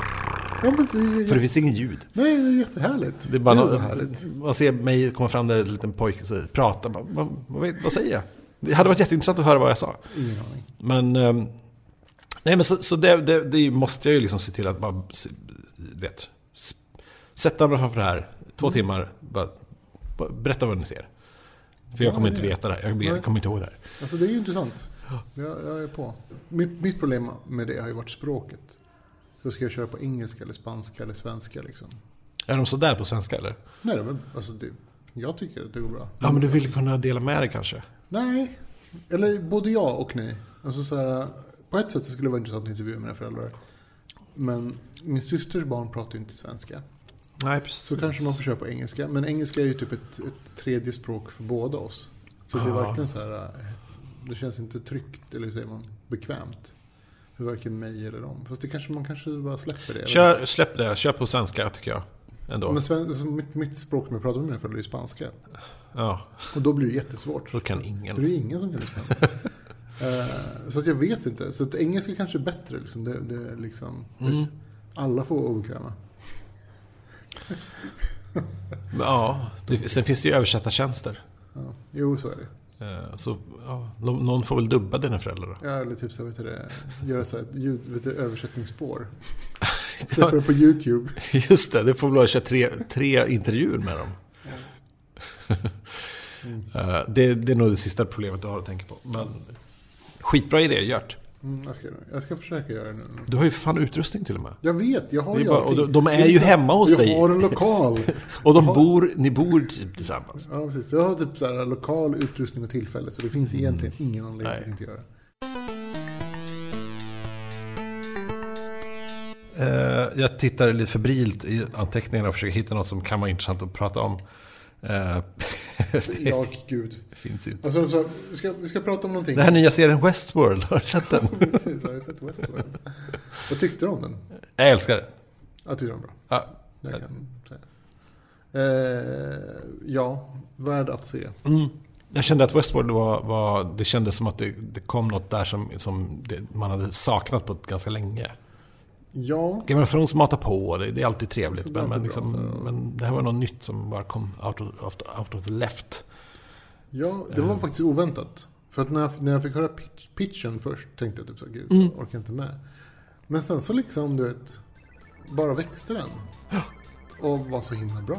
Speaker 1: Ja, men det är,
Speaker 2: det finns ingen ljud.
Speaker 1: nej, det är jättehärligt.
Speaker 2: Det är bara
Speaker 1: Gud, vad
Speaker 2: något,
Speaker 1: härligt.
Speaker 2: man ser mig komma fram där, en liten pojke, så prata. Man, man, man vet, vad säger jag? Det hade varit jätteintressant att höra vad jag sa.
Speaker 1: Ingen aning.
Speaker 2: Men, ehm, nej, men så, så det, det, det måste jag ju liksom se till att bara, s- vet, s- sätta mig framför det här, två timmar, bara, bara, berätta vad ni ser. För jag
Speaker 1: Ja,
Speaker 2: kommer
Speaker 1: det-
Speaker 2: inte veta det här, jag,
Speaker 1: Nej.
Speaker 2: jag kommer inte ihåg det här.
Speaker 1: Alltså det är ju intressant. Jag, jag är på. Mitt, mitt problem med det har ju varit språket. Så ska jag köra på engelska eller spanska eller svenska liksom.
Speaker 2: Är de sådär på svenska eller?
Speaker 1: Nej, men alltså det, jag tycker att det går bra.
Speaker 2: Ja, men du vill kunna dela med dig kanske?
Speaker 1: Nej, eller både ja och nej. Alltså så här, på ett sätt så skulle det vara intressant att intervjua mina föräldrar. Men min systers barn pratar ju inte svenska.
Speaker 2: Nej, precis.
Speaker 1: Så kanske man får köra på engelska. Men engelska är ju typ ett, ett tredje språk för båda oss. Så det är
Speaker 2: Ja.
Speaker 1: verkligen så här, eh, det känns inte tryggt, eller hur säger man, bekvämt. För varken mig eller dem. Fast det kanske man kanske bara släpper det.
Speaker 2: Kör, släpp det, kör på svenska tycker jag. Ändå.
Speaker 1: Men sven, alltså mitt, mitt språk som jag pratar med mina föräldrar är ju spanska.
Speaker 2: Ja,
Speaker 1: Och då blir det jättesvårt.
Speaker 2: då kan
Speaker 1: Det är
Speaker 2: ingen.
Speaker 1: ju ingen som kan svenska. Eh, så att jag vet inte. Så att engelska kanske är bättre. Liksom. Det, det är liksom,
Speaker 2: Mm.
Speaker 1: vet, alla får vara obekväma.
Speaker 2: Ja, det, sen finns det ju översättartjänster.
Speaker 1: Ja. Jo, så är det.
Speaker 2: Eh, Så ja, nå- någon får väl dubba dina föräldrar då.
Speaker 1: Ja, eller typ så, här, vet du det, göra så här, ett ljud, vet du, översättningsspår. Släpper det på YouTube.
Speaker 2: Just det, du får väl köra tre, tre intervjuer med dem. Eh, det, det är nog det sista problemet du har att tänka på. Men skitbra idé, Gert.
Speaker 1: Mm, jag, ska, göra det. jag ska försöka göra det nu.
Speaker 2: Du har ju fan utrustning till och med.
Speaker 1: Jag vet, jag har
Speaker 2: Det är
Speaker 1: ju
Speaker 2: bara-
Speaker 1: allting.
Speaker 2: och de- de är
Speaker 1: Det
Speaker 2: ju
Speaker 1: så här,
Speaker 2: hemma hos
Speaker 1: jag
Speaker 2: dig.
Speaker 1: Jag har en lokal.
Speaker 2: Och de
Speaker 1: Ja.
Speaker 2: bor, ni bor typ tillsammans.
Speaker 1: Ja, precis. Jag har typ så här, lokal utrustning och tillfälle. Så det finns egentligen ingen anledning
Speaker 2: Mm. Nej.
Speaker 1: till att inte göra det.
Speaker 2: Eh, jag tittar lite febrilt i anteckningarna och försöker hitta något som kan vara intressant att prata om. Eh, det
Speaker 1: Ja, gud.
Speaker 2: finns ju inte.
Speaker 1: Alltså, så, här, vi, ska, vi ska prata om någonting.
Speaker 2: Den här nya serien Westworld, har du sett den?
Speaker 1: Precis, jag har sett Westworld. Vad tyckte du om den?
Speaker 2: Jag älskar den.
Speaker 1: Jag tyckte den var bra.
Speaker 2: Ja.
Speaker 1: Det kan jag säga. Eh, ja, värd att se.
Speaker 2: Mm. Jag kände att Westworld var, var det kändes som att det, det kom något där som, som det, man hade saknat på ett ganska länge.
Speaker 1: Ja,
Speaker 2: Game of Thrones matar på, det, det är alltid
Speaker 1: Så
Speaker 2: trevligt.
Speaker 1: det är
Speaker 2: Men, men,
Speaker 1: alltid bra,
Speaker 2: liksom,
Speaker 1: så-
Speaker 2: men det här var något nytt som bara kom out of, out of- out of the left.
Speaker 1: ja det var faktiskt oväntat. För att när jag, när jag fick höra pitch, pitchen först tänkte jag typ så här, gud, jag orkar inte med. Men sen så liksom, du vet, bara växte den. Och var så himla bra.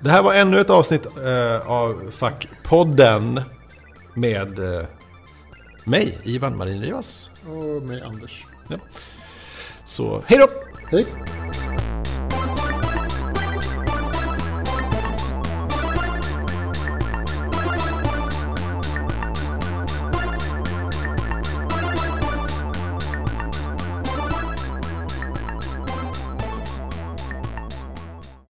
Speaker 2: Det här var ännu ett avsnitt eh, av Fackpodden med eh, mig, Ivan Marin Rivas.
Speaker 1: Och med Anders.
Speaker 2: Så hej då!
Speaker 1: Hej!